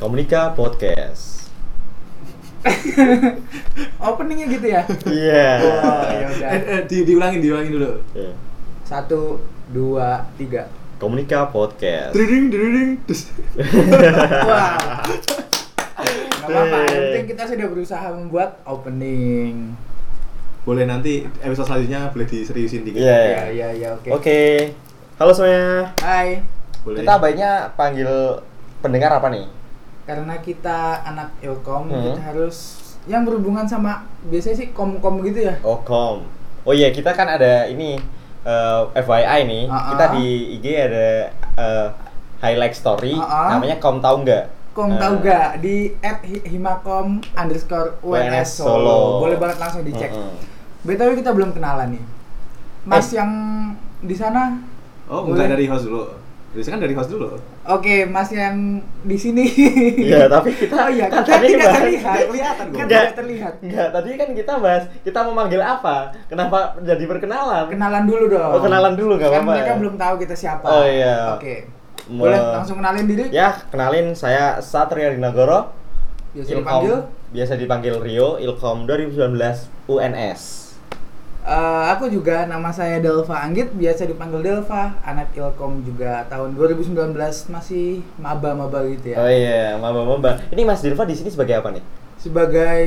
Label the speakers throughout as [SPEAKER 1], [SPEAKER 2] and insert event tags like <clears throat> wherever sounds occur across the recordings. [SPEAKER 1] Komunika Podcast.
[SPEAKER 2] Openingnya gitu ya.
[SPEAKER 1] Iya.
[SPEAKER 2] Wah, ya udah.
[SPEAKER 3] Eh, eh, di, diulangin, diulangin dulu.
[SPEAKER 1] Iya.
[SPEAKER 2] Satu, dua, tiga.
[SPEAKER 1] Komunika Podcast.
[SPEAKER 3] Dring, dring, terus.
[SPEAKER 2] Wah. Gak apa-apa, yang
[SPEAKER 1] Ding.
[SPEAKER 2] penting kita sudah berusaha membuat opening.
[SPEAKER 3] Boleh nanti episode selanjutnya boleh diseriusin dikit.
[SPEAKER 1] Iya.
[SPEAKER 2] Ya, ya, ya, oke.
[SPEAKER 1] Oke. Halo semuanya.
[SPEAKER 2] Hai.
[SPEAKER 3] Boleh.
[SPEAKER 1] Kita baiknya panggil pendengar apa nih?
[SPEAKER 2] Karena kita anak ilkom,
[SPEAKER 1] Hmm.
[SPEAKER 2] kita harus yang berhubungan sama biasanya sih kom-kom gitu ya.
[SPEAKER 1] Okom. Oh iya, kita kan ada ini eh, FYI nih.
[SPEAKER 2] Ah, ah.
[SPEAKER 1] Kita di IG ada eh, highlight story
[SPEAKER 2] Ah, ah.
[SPEAKER 1] namanya Kom tahu nggak?
[SPEAKER 2] Kom
[SPEAKER 1] Eh,
[SPEAKER 2] tahu gak di at himakom underscore
[SPEAKER 1] WNS
[SPEAKER 2] WNS Solo.
[SPEAKER 1] Solo.
[SPEAKER 2] Boleh banget langsung dicek.
[SPEAKER 1] Mm-mm.
[SPEAKER 2] BTW kita belum kenalan nih. Mas
[SPEAKER 1] Eh.
[SPEAKER 2] yang di sana,
[SPEAKER 3] Oh,
[SPEAKER 2] Boleh.
[SPEAKER 3] enggak dari host dulu. Biasanya kan dari host dulu.
[SPEAKER 2] oke, Mas yang di sini.
[SPEAKER 1] Iya, tapi kita
[SPEAKER 2] Oh iya,
[SPEAKER 1] kan
[SPEAKER 2] kita
[SPEAKER 1] tadi
[SPEAKER 2] tidak
[SPEAKER 1] bahas-
[SPEAKER 2] terlihat.
[SPEAKER 3] Tidak kelihatan
[SPEAKER 2] Kan
[SPEAKER 3] gua.
[SPEAKER 1] Nggak.
[SPEAKER 2] tidak terlihat.
[SPEAKER 1] Enggak, tadi kan kita bahas kita memanggil apa? Kenapa jadi perkenalan?
[SPEAKER 2] Kenalan dulu dong.
[SPEAKER 1] Oh, kenalan dulu, nggak
[SPEAKER 2] Kan
[SPEAKER 1] apa-apa
[SPEAKER 2] mereka
[SPEAKER 1] ya?
[SPEAKER 2] belum tahu kita siapa.
[SPEAKER 1] Oh, iya.
[SPEAKER 2] Oke.
[SPEAKER 1] Me-
[SPEAKER 2] Boleh langsung kenalin diri?
[SPEAKER 1] Ya, kenalin saya Satria Dinagoro.
[SPEAKER 2] Biasa dipanggil.
[SPEAKER 1] biasa dipanggil Rio, Ilkom 2019 UNS.
[SPEAKER 2] Eh, aku juga nama saya Delva Anggit, biasa dipanggil Delva, anak Ilkom juga tahun 2019 masih maba-maba gitu ya.
[SPEAKER 1] Oh iya, mamba-mamba. Ini Mas Dirva di sini sebagai apa nih?
[SPEAKER 2] Sebagai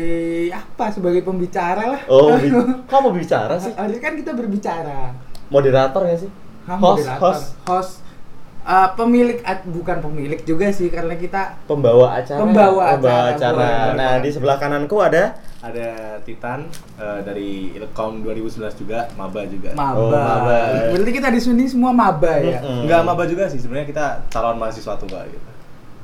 [SPEAKER 2] apa? Sebagai pembicara lah. <laughs>
[SPEAKER 1] Oh, bi- kok mau bicara sih?
[SPEAKER 2] Harusnya kan kita berbicara.
[SPEAKER 1] Moderator nggak sih?
[SPEAKER 2] Hah,
[SPEAKER 1] Host,
[SPEAKER 2] moderator.
[SPEAKER 1] host,
[SPEAKER 2] host. Eh, pemilik at- bukan pemilik juga sih karena kita
[SPEAKER 1] pembawa acara.
[SPEAKER 2] Pembawa acara,
[SPEAKER 1] acara.
[SPEAKER 2] boleh.
[SPEAKER 1] Nah, di sebelah kananku ada
[SPEAKER 3] Ada Titan eh, dari Ilkom 2011 juga, maba juga.
[SPEAKER 2] maba.
[SPEAKER 1] Oh, maba.
[SPEAKER 2] Berarti kita di sini semua maba ya.
[SPEAKER 1] Mm-mm.
[SPEAKER 3] Enggak maba juga sih, sebenarnya kita calon mahasiswa tunggal gitu.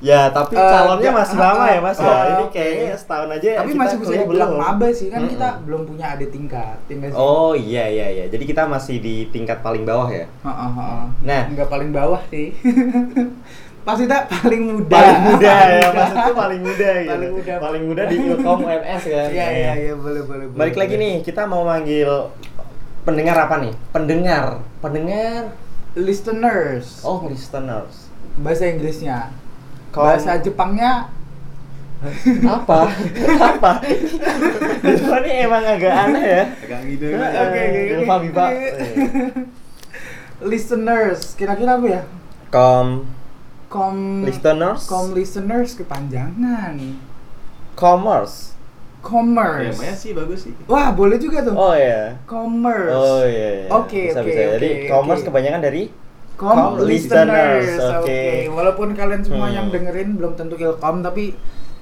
[SPEAKER 1] Ya, tapi
[SPEAKER 2] Eh,
[SPEAKER 1] calonnya
[SPEAKER 2] ja-
[SPEAKER 1] masih
[SPEAKER 2] ah,
[SPEAKER 1] lama
[SPEAKER 2] ah,
[SPEAKER 1] ya, Mas. ya.
[SPEAKER 2] ah,
[SPEAKER 1] Ini
[SPEAKER 2] oke.
[SPEAKER 1] kayaknya setahun aja
[SPEAKER 2] Tapi
[SPEAKER 1] kita
[SPEAKER 2] masih bisa
[SPEAKER 1] kuliah
[SPEAKER 2] dibilang
[SPEAKER 1] belum.
[SPEAKER 2] maba sih kan
[SPEAKER 1] Mm-mm.
[SPEAKER 2] kita belum punya adik tingkat. Tinggal sih.
[SPEAKER 1] Oh, iya iya iya. Jadi kita masih di tingkat paling bawah ya.
[SPEAKER 2] Heeh,
[SPEAKER 1] Nah.
[SPEAKER 2] enggak paling bawah sih. <laughs> Pas kita paling muda.
[SPEAKER 1] paling
[SPEAKER 2] <laughs>
[SPEAKER 1] muda
[SPEAKER 2] Paling
[SPEAKER 1] ya
[SPEAKER 2] muda.
[SPEAKER 1] mas itu paling muda gitu
[SPEAKER 2] Paling muda.
[SPEAKER 1] paling muda di Ilkom UMS kan
[SPEAKER 2] Iya, iya, iya, boleh, boleh.
[SPEAKER 1] balik
[SPEAKER 2] boleh.
[SPEAKER 1] lagi nih kita mau manggil pendengar apa nih pendengar pendengar
[SPEAKER 2] Listeners.
[SPEAKER 1] oh listeners
[SPEAKER 2] Bahasa Inggrisnya.
[SPEAKER 1] Kom-
[SPEAKER 2] Bahasa Jepangnya
[SPEAKER 1] <laughs> apa apa Dilfa ini emang agak aneh ya
[SPEAKER 3] Agak gitu.
[SPEAKER 1] Eh,
[SPEAKER 2] oke, oke, oke. <laughs>
[SPEAKER 1] Dilfa Biba
[SPEAKER 2] listeners. Kira-kira apa ya?
[SPEAKER 1] kom
[SPEAKER 2] Kom
[SPEAKER 1] listeners
[SPEAKER 2] Kom listeners kepanjangan.
[SPEAKER 1] commerce
[SPEAKER 2] Commerce.
[SPEAKER 3] Temanya Ya, Iya, sih bagus sih.
[SPEAKER 2] Wah, boleh juga tuh.
[SPEAKER 1] oh ya
[SPEAKER 2] Commerce.
[SPEAKER 1] oh iya iya.
[SPEAKER 2] Oke,
[SPEAKER 1] bisa
[SPEAKER 2] oke,
[SPEAKER 1] bisa jadi
[SPEAKER 2] oke,
[SPEAKER 1] commerce
[SPEAKER 2] oke.
[SPEAKER 1] kebanyakan dari
[SPEAKER 2] Kom
[SPEAKER 1] Kom
[SPEAKER 2] listeners.
[SPEAKER 1] listeners,
[SPEAKER 2] Oke.
[SPEAKER 1] oke.
[SPEAKER 2] Walaupun kalian semua
[SPEAKER 1] Hmm.
[SPEAKER 2] yang dengerin belum tentu ilkom tapi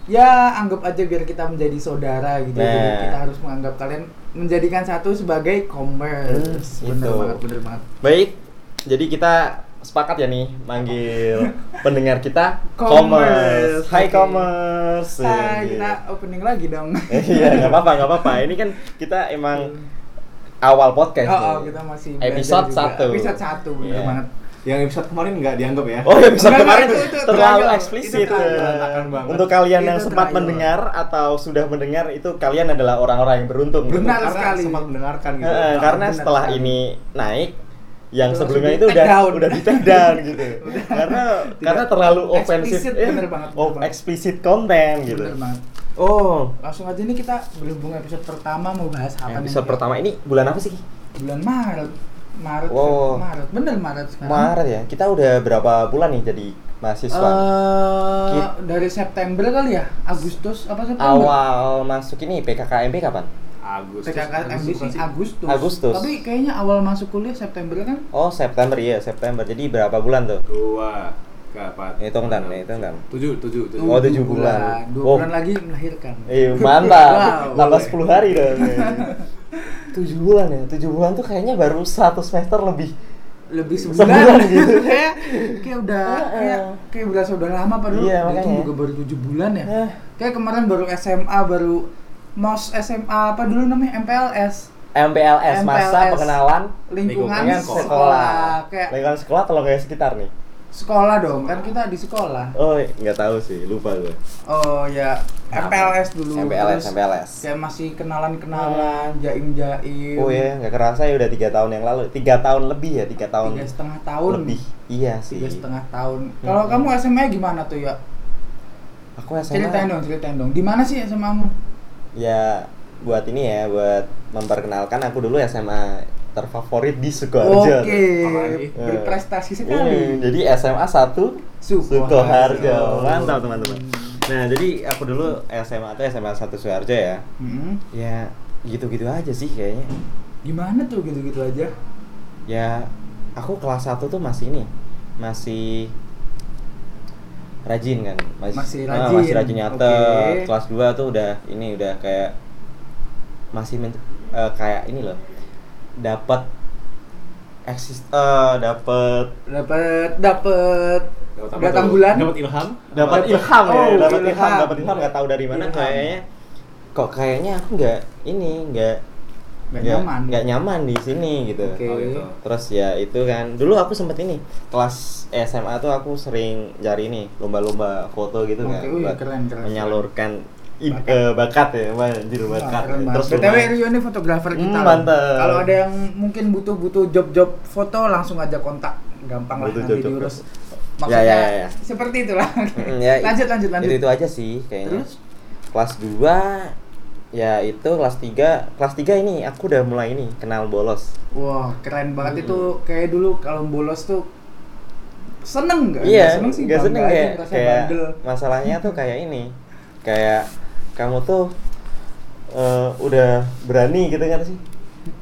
[SPEAKER 2] ya anggap aja biar kita menjadi saudara gitu. Jadi
[SPEAKER 1] Nah.
[SPEAKER 2] kita harus menganggap kalian menjadikan satu sebagai commerce.
[SPEAKER 1] Hmm,
[SPEAKER 2] bener
[SPEAKER 1] gitu.
[SPEAKER 2] banget, bener banget.
[SPEAKER 1] Baik, jadi kita sepakat ya nih manggil pendengar kita
[SPEAKER 2] Commerce.
[SPEAKER 1] commerce. Hai
[SPEAKER 2] Oke.
[SPEAKER 1] commerce.
[SPEAKER 2] Nah,
[SPEAKER 1] Iya.
[SPEAKER 2] kita opening lagi dong.
[SPEAKER 1] Iya, nggak apa-apa, nggak apa-apa. Ini kan kita
[SPEAKER 2] <laughs>
[SPEAKER 1] emang awal podcast.
[SPEAKER 2] Oh, oh,
[SPEAKER 1] nih.
[SPEAKER 2] kita masih belajar
[SPEAKER 1] gitu. episode
[SPEAKER 2] juga.
[SPEAKER 1] 1.
[SPEAKER 2] Episode 1 bener
[SPEAKER 1] Iya.
[SPEAKER 2] banget.
[SPEAKER 3] Yang episode kemarin nggak dianggap ya.
[SPEAKER 1] Oh, episode
[SPEAKER 2] Enggak,
[SPEAKER 1] kemarin
[SPEAKER 2] enggak, itu- itu
[SPEAKER 1] terlalu
[SPEAKER 2] trial.
[SPEAKER 1] eksplisit.
[SPEAKER 2] Itu trial.
[SPEAKER 1] Eh,
[SPEAKER 3] Berantakan banget.
[SPEAKER 1] Untuk kalian yang
[SPEAKER 2] Itu
[SPEAKER 1] sempat
[SPEAKER 2] trial.
[SPEAKER 1] mendengar atau sudah mendengar itu kalian adalah orang-orang yang beruntung.
[SPEAKER 2] Benar.
[SPEAKER 3] Karena
[SPEAKER 2] sekali.
[SPEAKER 3] Sempat mendengarkan
[SPEAKER 1] Eh,
[SPEAKER 3] gitu.
[SPEAKER 1] eh, karena
[SPEAKER 2] Nah, Benar
[SPEAKER 1] setelah
[SPEAKER 2] sekali.
[SPEAKER 1] ini naik yang
[SPEAKER 2] Itu
[SPEAKER 1] sebelumnya
[SPEAKER 2] langsung
[SPEAKER 1] itu
[SPEAKER 2] di
[SPEAKER 1] udah
[SPEAKER 2] take down.
[SPEAKER 1] udah di take down
[SPEAKER 2] <laughs>
[SPEAKER 1] gitu karena karena terlalu ofensif
[SPEAKER 2] Eksplisit, bener banget, bener
[SPEAKER 1] oh,
[SPEAKER 2] banget.
[SPEAKER 1] eksplisit konten gitu
[SPEAKER 2] Bener banget.
[SPEAKER 1] oh
[SPEAKER 2] Langsung aja nih kita berhubung episode pertama mau bahas apa nih?
[SPEAKER 1] episode pertama ini bulan apa sih
[SPEAKER 2] Bulan Maret. Maret.
[SPEAKER 1] Wow.
[SPEAKER 2] Maret. Bener Maret sekarang.
[SPEAKER 1] Maret ya kita udah berapa bulan nih jadi
[SPEAKER 2] Eh,
[SPEAKER 1] mahasiswa Ki-
[SPEAKER 2] dari September kali ya? Agustus apa September?
[SPEAKER 1] awal masuk ini PKKMB kapan
[SPEAKER 3] Agustus.
[SPEAKER 2] PKKMB
[SPEAKER 3] Agustus bukan
[SPEAKER 2] sih
[SPEAKER 3] sih?
[SPEAKER 2] Agustus.
[SPEAKER 1] Agustus.
[SPEAKER 2] Tapi kayaknya awal masuk kuliah September kan?
[SPEAKER 1] oh September iya September jadi berapa bulan tuh
[SPEAKER 3] dua empat
[SPEAKER 1] hitung dan hitung dan
[SPEAKER 3] tujuh tujuh tujuh
[SPEAKER 1] Oh, tujuh bulan.
[SPEAKER 2] 2 Dua
[SPEAKER 1] Oh.
[SPEAKER 2] bulan lagi melahirkan. <laughs>
[SPEAKER 1] Eh, mantap. Tambah
[SPEAKER 2] Wow.
[SPEAKER 3] boleh.
[SPEAKER 1] 10 hari
[SPEAKER 2] <laughs>
[SPEAKER 1] dong. Tujuh bulan ya. Tujuh bulan tuh kayaknya baru satu semester lebih.
[SPEAKER 2] lebih sebulan,
[SPEAKER 1] Sebulan <laughs> gitu.
[SPEAKER 2] kayak kayak udah
[SPEAKER 1] Heeh.
[SPEAKER 2] kayak kayak berasa udah lama padahal
[SPEAKER 1] Iya,
[SPEAKER 2] itu
[SPEAKER 1] makanya.
[SPEAKER 2] juga baru tujuh bulan ya
[SPEAKER 1] Hah.
[SPEAKER 2] kayak kemarin baru SMA baru mos SMA apa dulu namanya MPLS
[SPEAKER 1] MPLS, masa
[SPEAKER 2] MPLS.
[SPEAKER 1] pengenalan
[SPEAKER 2] lingkungan
[SPEAKER 1] dengan
[SPEAKER 2] sekolah.
[SPEAKER 1] sekolah.
[SPEAKER 2] kayak
[SPEAKER 1] Lingkungan sekolah atau lingkungan sekitar nih?
[SPEAKER 2] sekolah dong kan kita di sekolah
[SPEAKER 1] Oh, nggak tahu sih, lupa gue.
[SPEAKER 2] oh ya MPLS dulu
[SPEAKER 1] MPLS,
[SPEAKER 2] terus
[SPEAKER 1] MPLS.
[SPEAKER 2] kayak masih kenalan-kenalan jaim-jaim
[SPEAKER 1] Oh ya, nggak kerasa ya udah tiga tahun yang lalu, tiga tahun lebih ya, tiga tahun
[SPEAKER 2] tiga setengah tahun
[SPEAKER 1] lebih. Iya sih.
[SPEAKER 2] tiga setengah tahun kalau kamu SMA gimana tuh ya
[SPEAKER 1] Aku SMA.
[SPEAKER 2] Ceritain dong, ceritain dong. Di mana sih SMA mu?
[SPEAKER 1] Ya buat ini ya, buat memperkenalkan aku dulu SMA terfavorit di Sukoharjo.
[SPEAKER 2] Oke,
[SPEAKER 3] Apalagi?
[SPEAKER 2] berprestasi
[SPEAKER 1] Hmm,
[SPEAKER 2] sekali.
[SPEAKER 1] jadi SMA 1
[SPEAKER 2] Sukoharjo.
[SPEAKER 1] Sukoharjo. iya. Oh, Mantap teman-teman. Nah, jadi aku dulu SMA tuh SMA 1 Sukoharjo ya.
[SPEAKER 2] Hmm.
[SPEAKER 1] Ya gitu-gitu aja sih kayaknya.
[SPEAKER 2] Gimana tuh gitu-gitu aja?
[SPEAKER 1] Ya aku kelas 1 tuh masih ini. Masih rajin kan
[SPEAKER 2] Masih
[SPEAKER 1] ah,
[SPEAKER 2] rajin,
[SPEAKER 1] masih rajin nyata
[SPEAKER 2] oke.
[SPEAKER 1] kelas 2 tuh udah ini udah kayak masih men- eh, kayak ini loh dapat eksis eh, dapat
[SPEAKER 2] Dapat dapat
[SPEAKER 3] Dapat apa
[SPEAKER 2] datang
[SPEAKER 3] tuh?
[SPEAKER 2] bulan.
[SPEAKER 3] Dapat ilham.
[SPEAKER 1] dapat
[SPEAKER 2] Dapat-
[SPEAKER 1] ilham ya
[SPEAKER 2] oh,
[SPEAKER 1] dapat
[SPEAKER 2] ilham.
[SPEAKER 1] ilham dapat ilham nggak tahu dari mana
[SPEAKER 2] Ilham.
[SPEAKER 1] kayaknya kok kayaknya aku nggak ini nggak
[SPEAKER 2] Gak nyaman.
[SPEAKER 1] nggak nyaman di sini gitu
[SPEAKER 2] Oke.
[SPEAKER 3] Oh, gitu.
[SPEAKER 1] terus ya itu kan dulu aku sempet ini kelas SMA tuh aku sering cari ini lomba-lomba foto gitu
[SPEAKER 2] Oke,
[SPEAKER 1] kan
[SPEAKER 2] wih,
[SPEAKER 1] buat
[SPEAKER 2] keren, keren.
[SPEAKER 1] menyalurkan id-
[SPEAKER 2] Bakat.
[SPEAKER 1] eh, bakat. ya Wah, anjir
[SPEAKER 2] Wah,
[SPEAKER 1] bakat
[SPEAKER 2] keren banget.
[SPEAKER 1] terus
[SPEAKER 2] BTW
[SPEAKER 1] lumayan-
[SPEAKER 2] Rio ini fotografer kita.
[SPEAKER 1] Hmm,
[SPEAKER 2] loh.
[SPEAKER 1] mantap.
[SPEAKER 2] Kalau ada yang mungkin butuh-butuh job-job foto langsung aja kontak.
[SPEAKER 1] Butuh
[SPEAKER 2] Gampang lah nanti
[SPEAKER 1] job-job
[SPEAKER 2] diurus.
[SPEAKER 1] foto.
[SPEAKER 2] Maksudnya
[SPEAKER 1] Ya, ya, ya.
[SPEAKER 2] seperti itulah.
[SPEAKER 1] Mm, <laughs> ya,
[SPEAKER 2] lanjut lanjut lanjut.
[SPEAKER 1] itu, itu aja sih kayaknya
[SPEAKER 2] Terus?
[SPEAKER 1] kelas 2 ya itu kelas 3 kelas 3 ini aku udah mulai ini kenal bolos
[SPEAKER 2] Wah, keren
[SPEAKER 1] Hmm.
[SPEAKER 2] banget itu kayak dulu kalau bolos tuh seneng nggak? Nggak
[SPEAKER 1] iya
[SPEAKER 2] seneng sih.
[SPEAKER 1] nggak
[SPEAKER 2] bangga
[SPEAKER 1] seneng
[SPEAKER 2] aja
[SPEAKER 1] kayak
[SPEAKER 2] ngerasa
[SPEAKER 1] kayak
[SPEAKER 2] bandel.
[SPEAKER 1] masalahnya tuh kayak ini kayak kamu tuh eh, udah berani gitu kan sih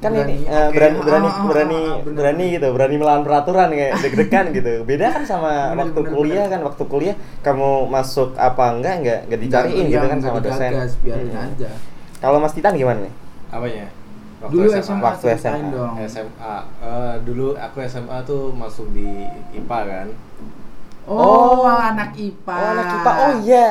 [SPEAKER 1] kan ini
[SPEAKER 2] Berani,
[SPEAKER 1] eh,
[SPEAKER 2] oke.
[SPEAKER 1] berani berani
[SPEAKER 2] Ah, ah, ah,
[SPEAKER 1] berani
[SPEAKER 2] ah, bener.
[SPEAKER 1] berani gitu berani melawan peraturan
[SPEAKER 2] <laughs>
[SPEAKER 1] kayak deg-degan gitu beda kan sama
[SPEAKER 2] Bener,
[SPEAKER 1] waktu
[SPEAKER 2] bener,
[SPEAKER 1] kuliah
[SPEAKER 2] bener.
[SPEAKER 1] kan waktu kuliah kamu masuk apa enggak enggak enggak dicariin
[SPEAKER 2] Iya,
[SPEAKER 1] gitu kan
[SPEAKER 2] nggak
[SPEAKER 1] sama dosen
[SPEAKER 2] digagas, biarin
[SPEAKER 1] Mm.
[SPEAKER 2] aja.
[SPEAKER 1] kalau Mas Titan gimana nih
[SPEAKER 3] Apanya?
[SPEAKER 2] Dulu SMA,
[SPEAKER 1] Waktu SMA.
[SPEAKER 2] ceritain dong.
[SPEAKER 3] SMA Eh, dulu aku SMA tuh masuk di IPA kan.
[SPEAKER 1] Oh.
[SPEAKER 2] Oh, anak IPA.
[SPEAKER 1] oh anak IPA oh iya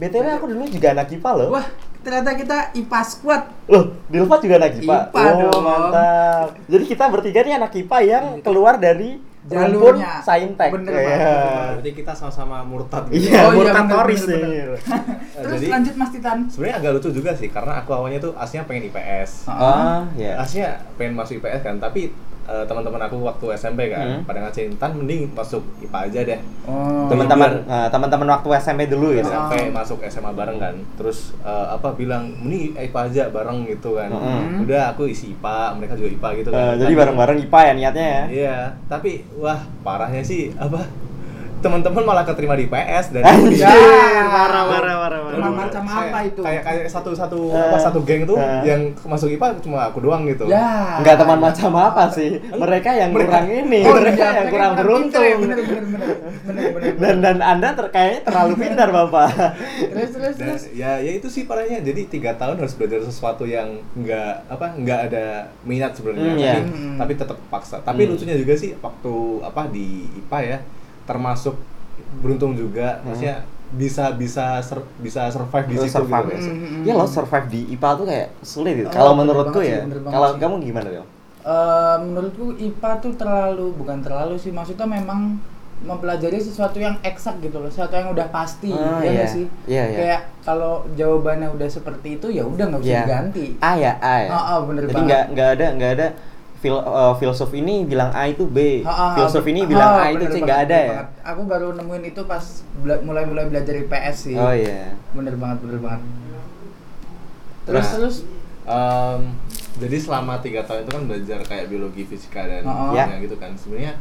[SPEAKER 1] btw aku dulu juga anak IPA loh
[SPEAKER 2] Wah, ternyata kita IPA squad.
[SPEAKER 1] Loh, Dilva juga anak IPA.
[SPEAKER 2] IPA
[SPEAKER 1] oh,
[SPEAKER 2] dong. Hmm.
[SPEAKER 1] mantap. Jadi kita bertiga nih anak IPA yang keluar dari rumpun
[SPEAKER 2] Jalurnya.
[SPEAKER 1] Saintek.
[SPEAKER 2] Bener
[SPEAKER 1] Iya.
[SPEAKER 2] banget, bener banget.
[SPEAKER 3] Berarti kita sama-sama murtad gitu.
[SPEAKER 1] Iya,
[SPEAKER 2] Oh, iya,
[SPEAKER 1] murtad
[SPEAKER 2] bener,
[SPEAKER 1] Toris
[SPEAKER 2] bener,
[SPEAKER 1] nih.
[SPEAKER 2] <laughs>
[SPEAKER 1] Nah,
[SPEAKER 3] Eh,
[SPEAKER 2] Terus
[SPEAKER 3] Jadi
[SPEAKER 2] lanjut Mas Titan.
[SPEAKER 3] sebenarnya agak lucu juga sih karena aku awalnya tuh aslinya pengen IPS.
[SPEAKER 1] Ah, ya.
[SPEAKER 3] Aslinya pengen masuk IPS kan, tapi eh, teman-teman aku waktu SMP kan
[SPEAKER 1] Hmm.
[SPEAKER 3] pada ngajarin tan mending masuk IPA aja deh.
[SPEAKER 2] Oh.
[SPEAKER 1] Teman-teman
[SPEAKER 3] iya.
[SPEAKER 1] eh, teman-teman waktu SMP dulu gitu.
[SPEAKER 2] Ah.
[SPEAKER 3] SMP masuk SMA bareng kan terus eh, apa bilang mending IPA aja bareng gitu kan
[SPEAKER 1] Mm-mm.
[SPEAKER 3] udah aku isi IPA mereka juga IPA gitu kan
[SPEAKER 1] Hmm. Eh, jadi
[SPEAKER 3] Tapi-
[SPEAKER 1] bareng-bareng IPA ya niatnya ya.
[SPEAKER 3] iya tapi wah parahnya sih apa teman-teman malah keterima di IPS dan
[SPEAKER 1] Anjir,
[SPEAKER 2] Ya.
[SPEAKER 1] marah marah marah
[SPEAKER 3] Aduh,
[SPEAKER 2] Emang
[SPEAKER 1] marah.
[SPEAKER 2] macam
[SPEAKER 3] kayak-
[SPEAKER 2] apa itu?
[SPEAKER 3] kayak kayak satu satu
[SPEAKER 1] Eh,
[SPEAKER 3] apa satu geng tuh
[SPEAKER 1] eh.
[SPEAKER 3] yang masuk IPA cuma aku doang gitu
[SPEAKER 2] Ya.
[SPEAKER 1] Enggak teman macam apa sih? Mereka yang
[SPEAKER 3] Mereka-
[SPEAKER 1] kurang ini,
[SPEAKER 2] Oh,
[SPEAKER 1] mereka
[SPEAKER 2] iya,
[SPEAKER 1] yang
[SPEAKER 2] mereka
[SPEAKER 1] kurang iya,
[SPEAKER 2] pinter ya,
[SPEAKER 1] beruntung.
[SPEAKER 2] Bener bener bener. Bener bener.
[SPEAKER 1] Dan dan Anda ter- kayaknya terlalu pintar, Bapak.
[SPEAKER 2] Terus terus
[SPEAKER 3] Dan-
[SPEAKER 2] terus.
[SPEAKER 3] ya ya itu sih parahnya jadi tiga tahun harus belajar sesuatu yang nggak apa nggak ada minat
[SPEAKER 1] Hmm,
[SPEAKER 3] sebenarnya
[SPEAKER 1] iya.
[SPEAKER 3] tapi,
[SPEAKER 2] Hmm.
[SPEAKER 3] tapi tetap paksa tapi
[SPEAKER 1] Hmm.
[SPEAKER 3] lucunya juga sih waktu apa di IPA ya termasuk beruntung juga
[SPEAKER 1] Hmm.
[SPEAKER 3] maksudnya bisa bisa sur- bisa survive di
[SPEAKER 1] Lo
[SPEAKER 3] situ
[SPEAKER 1] survive ya.
[SPEAKER 3] gitu.
[SPEAKER 2] Mm, mm, mm.
[SPEAKER 1] Ya lo survive di IPA tuh kayak sulit itu.
[SPEAKER 2] Oh,
[SPEAKER 1] Kalau
[SPEAKER 2] bener
[SPEAKER 1] menurutku
[SPEAKER 2] banget sih,
[SPEAKER 1] ya.
[SPEAKER 2] bener banget
[SPEAKER 1] Kalau
[SPEAKER 2] sih.
[SPEAKER 1] kamu gimana Del?
[SPEAKER 2] Eh, menurutku IPA tuh terlalu bukan terlalu sih maksudnya memang mempelajari sesuatu yang eksak gitu loh sesuatu yang udah pasti
[SPEAKER 1] Ah,
[SPEAKER 2] ya
[SPEAKER 1] iya.
[SPEAKER 2] nggak sih
[SPEAKER 1] Iya, iya.
[SPEAKER 2] kayak kalau jawabannya udah seperti itu ya udah nggak bisa
[SPEAKER 1] Iya.
[SPEAKER 2] diganti
[SPEAKER 1] A ya A ya.
[SPEAKER 2] Ah, ah, bener
[SPEAKER 1] Jadi
[SPEAKER 2] banget.
[SPEAKER 1] nggak nggak ada nggak ada fil, eh, filsuf ini bilang A itu B,
[SPEAKER 2] Ah, ah,
[SPEAKER 1] filsuf ini
[SPEAKER 2] ah,
[SPEAKER 1] bilang
[SPEAKER 2] ah,
[SPEAKER 1] A itu
[SPEAKER 2] bener
[SPEAKER 1] C
[SPEAKER 2] banget,
[SPEAKER 1] nggak ada
[SPEAKER 2] bener
[SPEAKER 1] ya.
[SPEAKER 2] banget. aku baru nemuin itu pas bela- mulai-mulai belajar IPS sih
[SPEAKER 1] Oh iya. Nah.
[SPEAKER 2] bener banget bener banget terus
[SPEAKER 3] Terus?
[SPEAKER 2] terus
[SPEAKER 3] Em, jadi selama tiga tahun itu kan belajar kayak biologi fisika dan
[SPEAKER 2] Oh.
[SPEAKER 1] Ya.
[SPEAKER 3] kimia gitu kan sebenarnya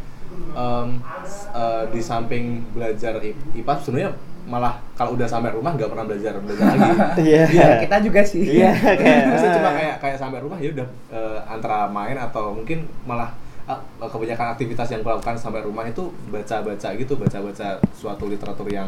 [SPEAKER 3] em, s- eh, di samping belajar I- IPA sebenarnya malah kalau udah sampai rumah nggak pernah belajar belajar lagi
[SPEAKER 1] <laughs>
[SPEAKER 2] <laughs>
[SPEAKER 1] Iya.
[SPEAKER 2] ya, kita juga sih <laughs>
[SPEAKER 1] Iya kayak.
[SPEAKER 3] <laughs> Maksudnya cuma kayak kayak sampai rumah ya udah eh, antara main atau mungkin malah ah, kebanyakan aktivitas yang kulakukan sampai rumah itu baca-baca gitu, baca-baca suatu literatur yang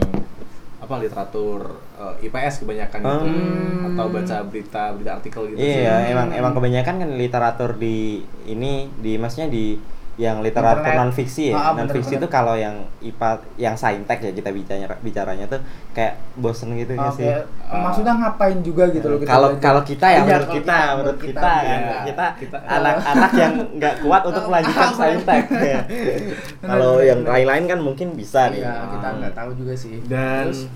[SPEAKER 3] apa literatur eh, IPS kebanyakan gitu
[SPEAKER 1] Hmm.
[SPEAKER 3] atau baca berita berita artikel gitu sih.
[SPEAKER 1] Iya emang emang kebanyakan kan literatur di ini di maksudnya di yang literatur
[SPEAKER 2] Internet.
[SPEAKER 1] non fiksi ya
[SPEAKER 2] Ah, ah,
[SPEAKER 1] non fiksi
[SPEAKER 2] bener-bener.
[SPEAKER 1] itu kalau yang IPA yang saintek ya kita bicaranya bicaranya tuh kayak bosen gitu nggak <laughs>
[SPEAKER 2] Oke,
[SPEAKER 1] sih
[SPEAKER 2] maksudnya ngapain juga gitu loh kita
[SPEAKER 1] kalau
[SPEAKER 2] belajar.
[SPEAKER 1] kalau kita ya
[SPEAKER 2] Iya,
[SPEAKER 1] menurut
[SPEAKER 2] kalau
[SPEAKER 1] kita menurut kita
[SPEAKER 3] iya.
[SPEAKER 1] kan kita
[SPEAKER 3] Kita-
[SPEAKER 1] anak-anak yang nggak kuat
[SPEAKER 2] <laughs>
[SPEAKER 1] untuk melanjutkan saintek ya. kalau
[SPEAKER 2] benar,
[SPEAKER 1] yang
[SPEAKER 2] benar.
[SPEAKER 1] lain-lain kan mungkin bisa nih
[SPEAKER 2] Iya, kita
[SPEAKER 1] Ah.
[SPEAKER 2] nggak tahu juga sih
[SPEAKER 3] dan
[SPEAKER 2] Terus?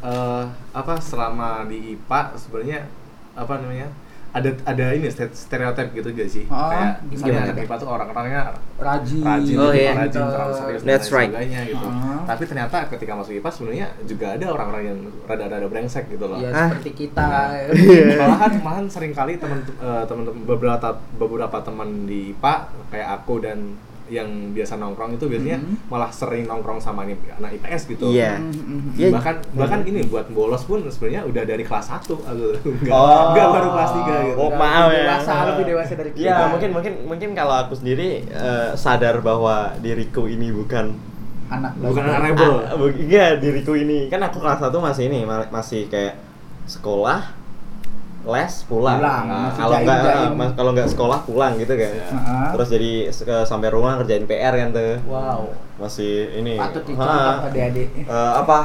[SPEAKER 3] eh, apa selama di IPA sebenarnya apa namanya ada ada ini stere- stereotip gitu gak sih?
[SPEAKER 2] Oh,
[SPEAKER 3] kayak
[SPEAKER 2] gimana?
[SPEAKER 3] misalnya anak IPA tuh orang-orangnya
[SPEAKER 2] rajin, Gitu.
[SPEAKER 3] rajin, gitu,
[SPEAKER 1] Oh, iya.
[SPEAKER 3] rajin, terlalu serius
[SPEAKER 1] That's
[SPEAKER 3] dan lain
[SPEAKER 1] right.
[SPEAKER 3] sebagainya gitu.
[SPEAKER 2] Ah.
[SPEAKER 3] Tapi ternyata ketika masuk IPA sebenarnya juga ada orang-orang yang rada-rada brengsek gitu loh.
[SPEAKER 1] Ah.
[SPEAKER 2] ya
[SPEAKER 1] Iya.
[SPEAKER 2] seperti kita
[SPEAKER 3] <laughs> malahan malahan sering kali teman eh, teman-teman beberapa beberapa teman di IPA kayak aku dan yang biasa nongkrong itu biasanya
[SPEAKER 2] Mhm.
[SPEAKER 3] malah sering nongkrong sama nih anak IPS gitu.
[SPEAKER 1] Iya.
[SPEAKER 2] Mm, mm, mm.
[SPEAKER 1] Iya.
[SPEAKER 3] Bahkan bahkan ini buat bolos pun sebenarnya udah dari kelas 1 <laughs> enggak
[SPEAKER 1] Oh.
[SPEAKER 3] enggak baru kelas 3 gitu.
[SPEAKER 1] Oh,
[SPEAKER 2] kan. Lebih
[SPEAKER 1] maaf ya.
[SPEAKER 2] dewasa, lebih dewasa dari kita.
[SPEAKER 1] Iya, mungkin mungkin mungkin kalau aku sendiri eh, sadar bahwa diriku ini bukan
[SPEAKER 2] anak
[SPEAKER 3] Bukan
[SPEAKER 2] belasan.
[SPEAKER 3] anak rebel.
[SPEAKER 1] Ah, bu- enggak diriku ini. Kan aku kelas 1 masih ini ma- masih kayak sekolah les pulang.
[SPEAKER 2] Pulang,
[SPEAKER 1] Nah,
[SPEAKER 2] masih
[SPEAKER 1] kalau
[SPEAKER 2] jaim-
[SPEAKER 1] enggak
[SPEAKER 2] jaim.
[SPEAKER 1] mas- kalau enggak sekolah pulang gitu kan.
[SPEAKER 3] Iya.
[SPEAKER 2] Heeh.
[SPEAKER 1] Terus jadi se- sampai rumah kerjain PR kan tuh.
[SPEAKER 2] wow
[SPEAKER 1] Masih ini.
[SPEAKER 2] patut
[SPEAKER 1] Ha.
[SPEAKER 2] dicontoh pada adik
[SPEAKER 3] Iya.
[SPEAKER 1] Eh, apa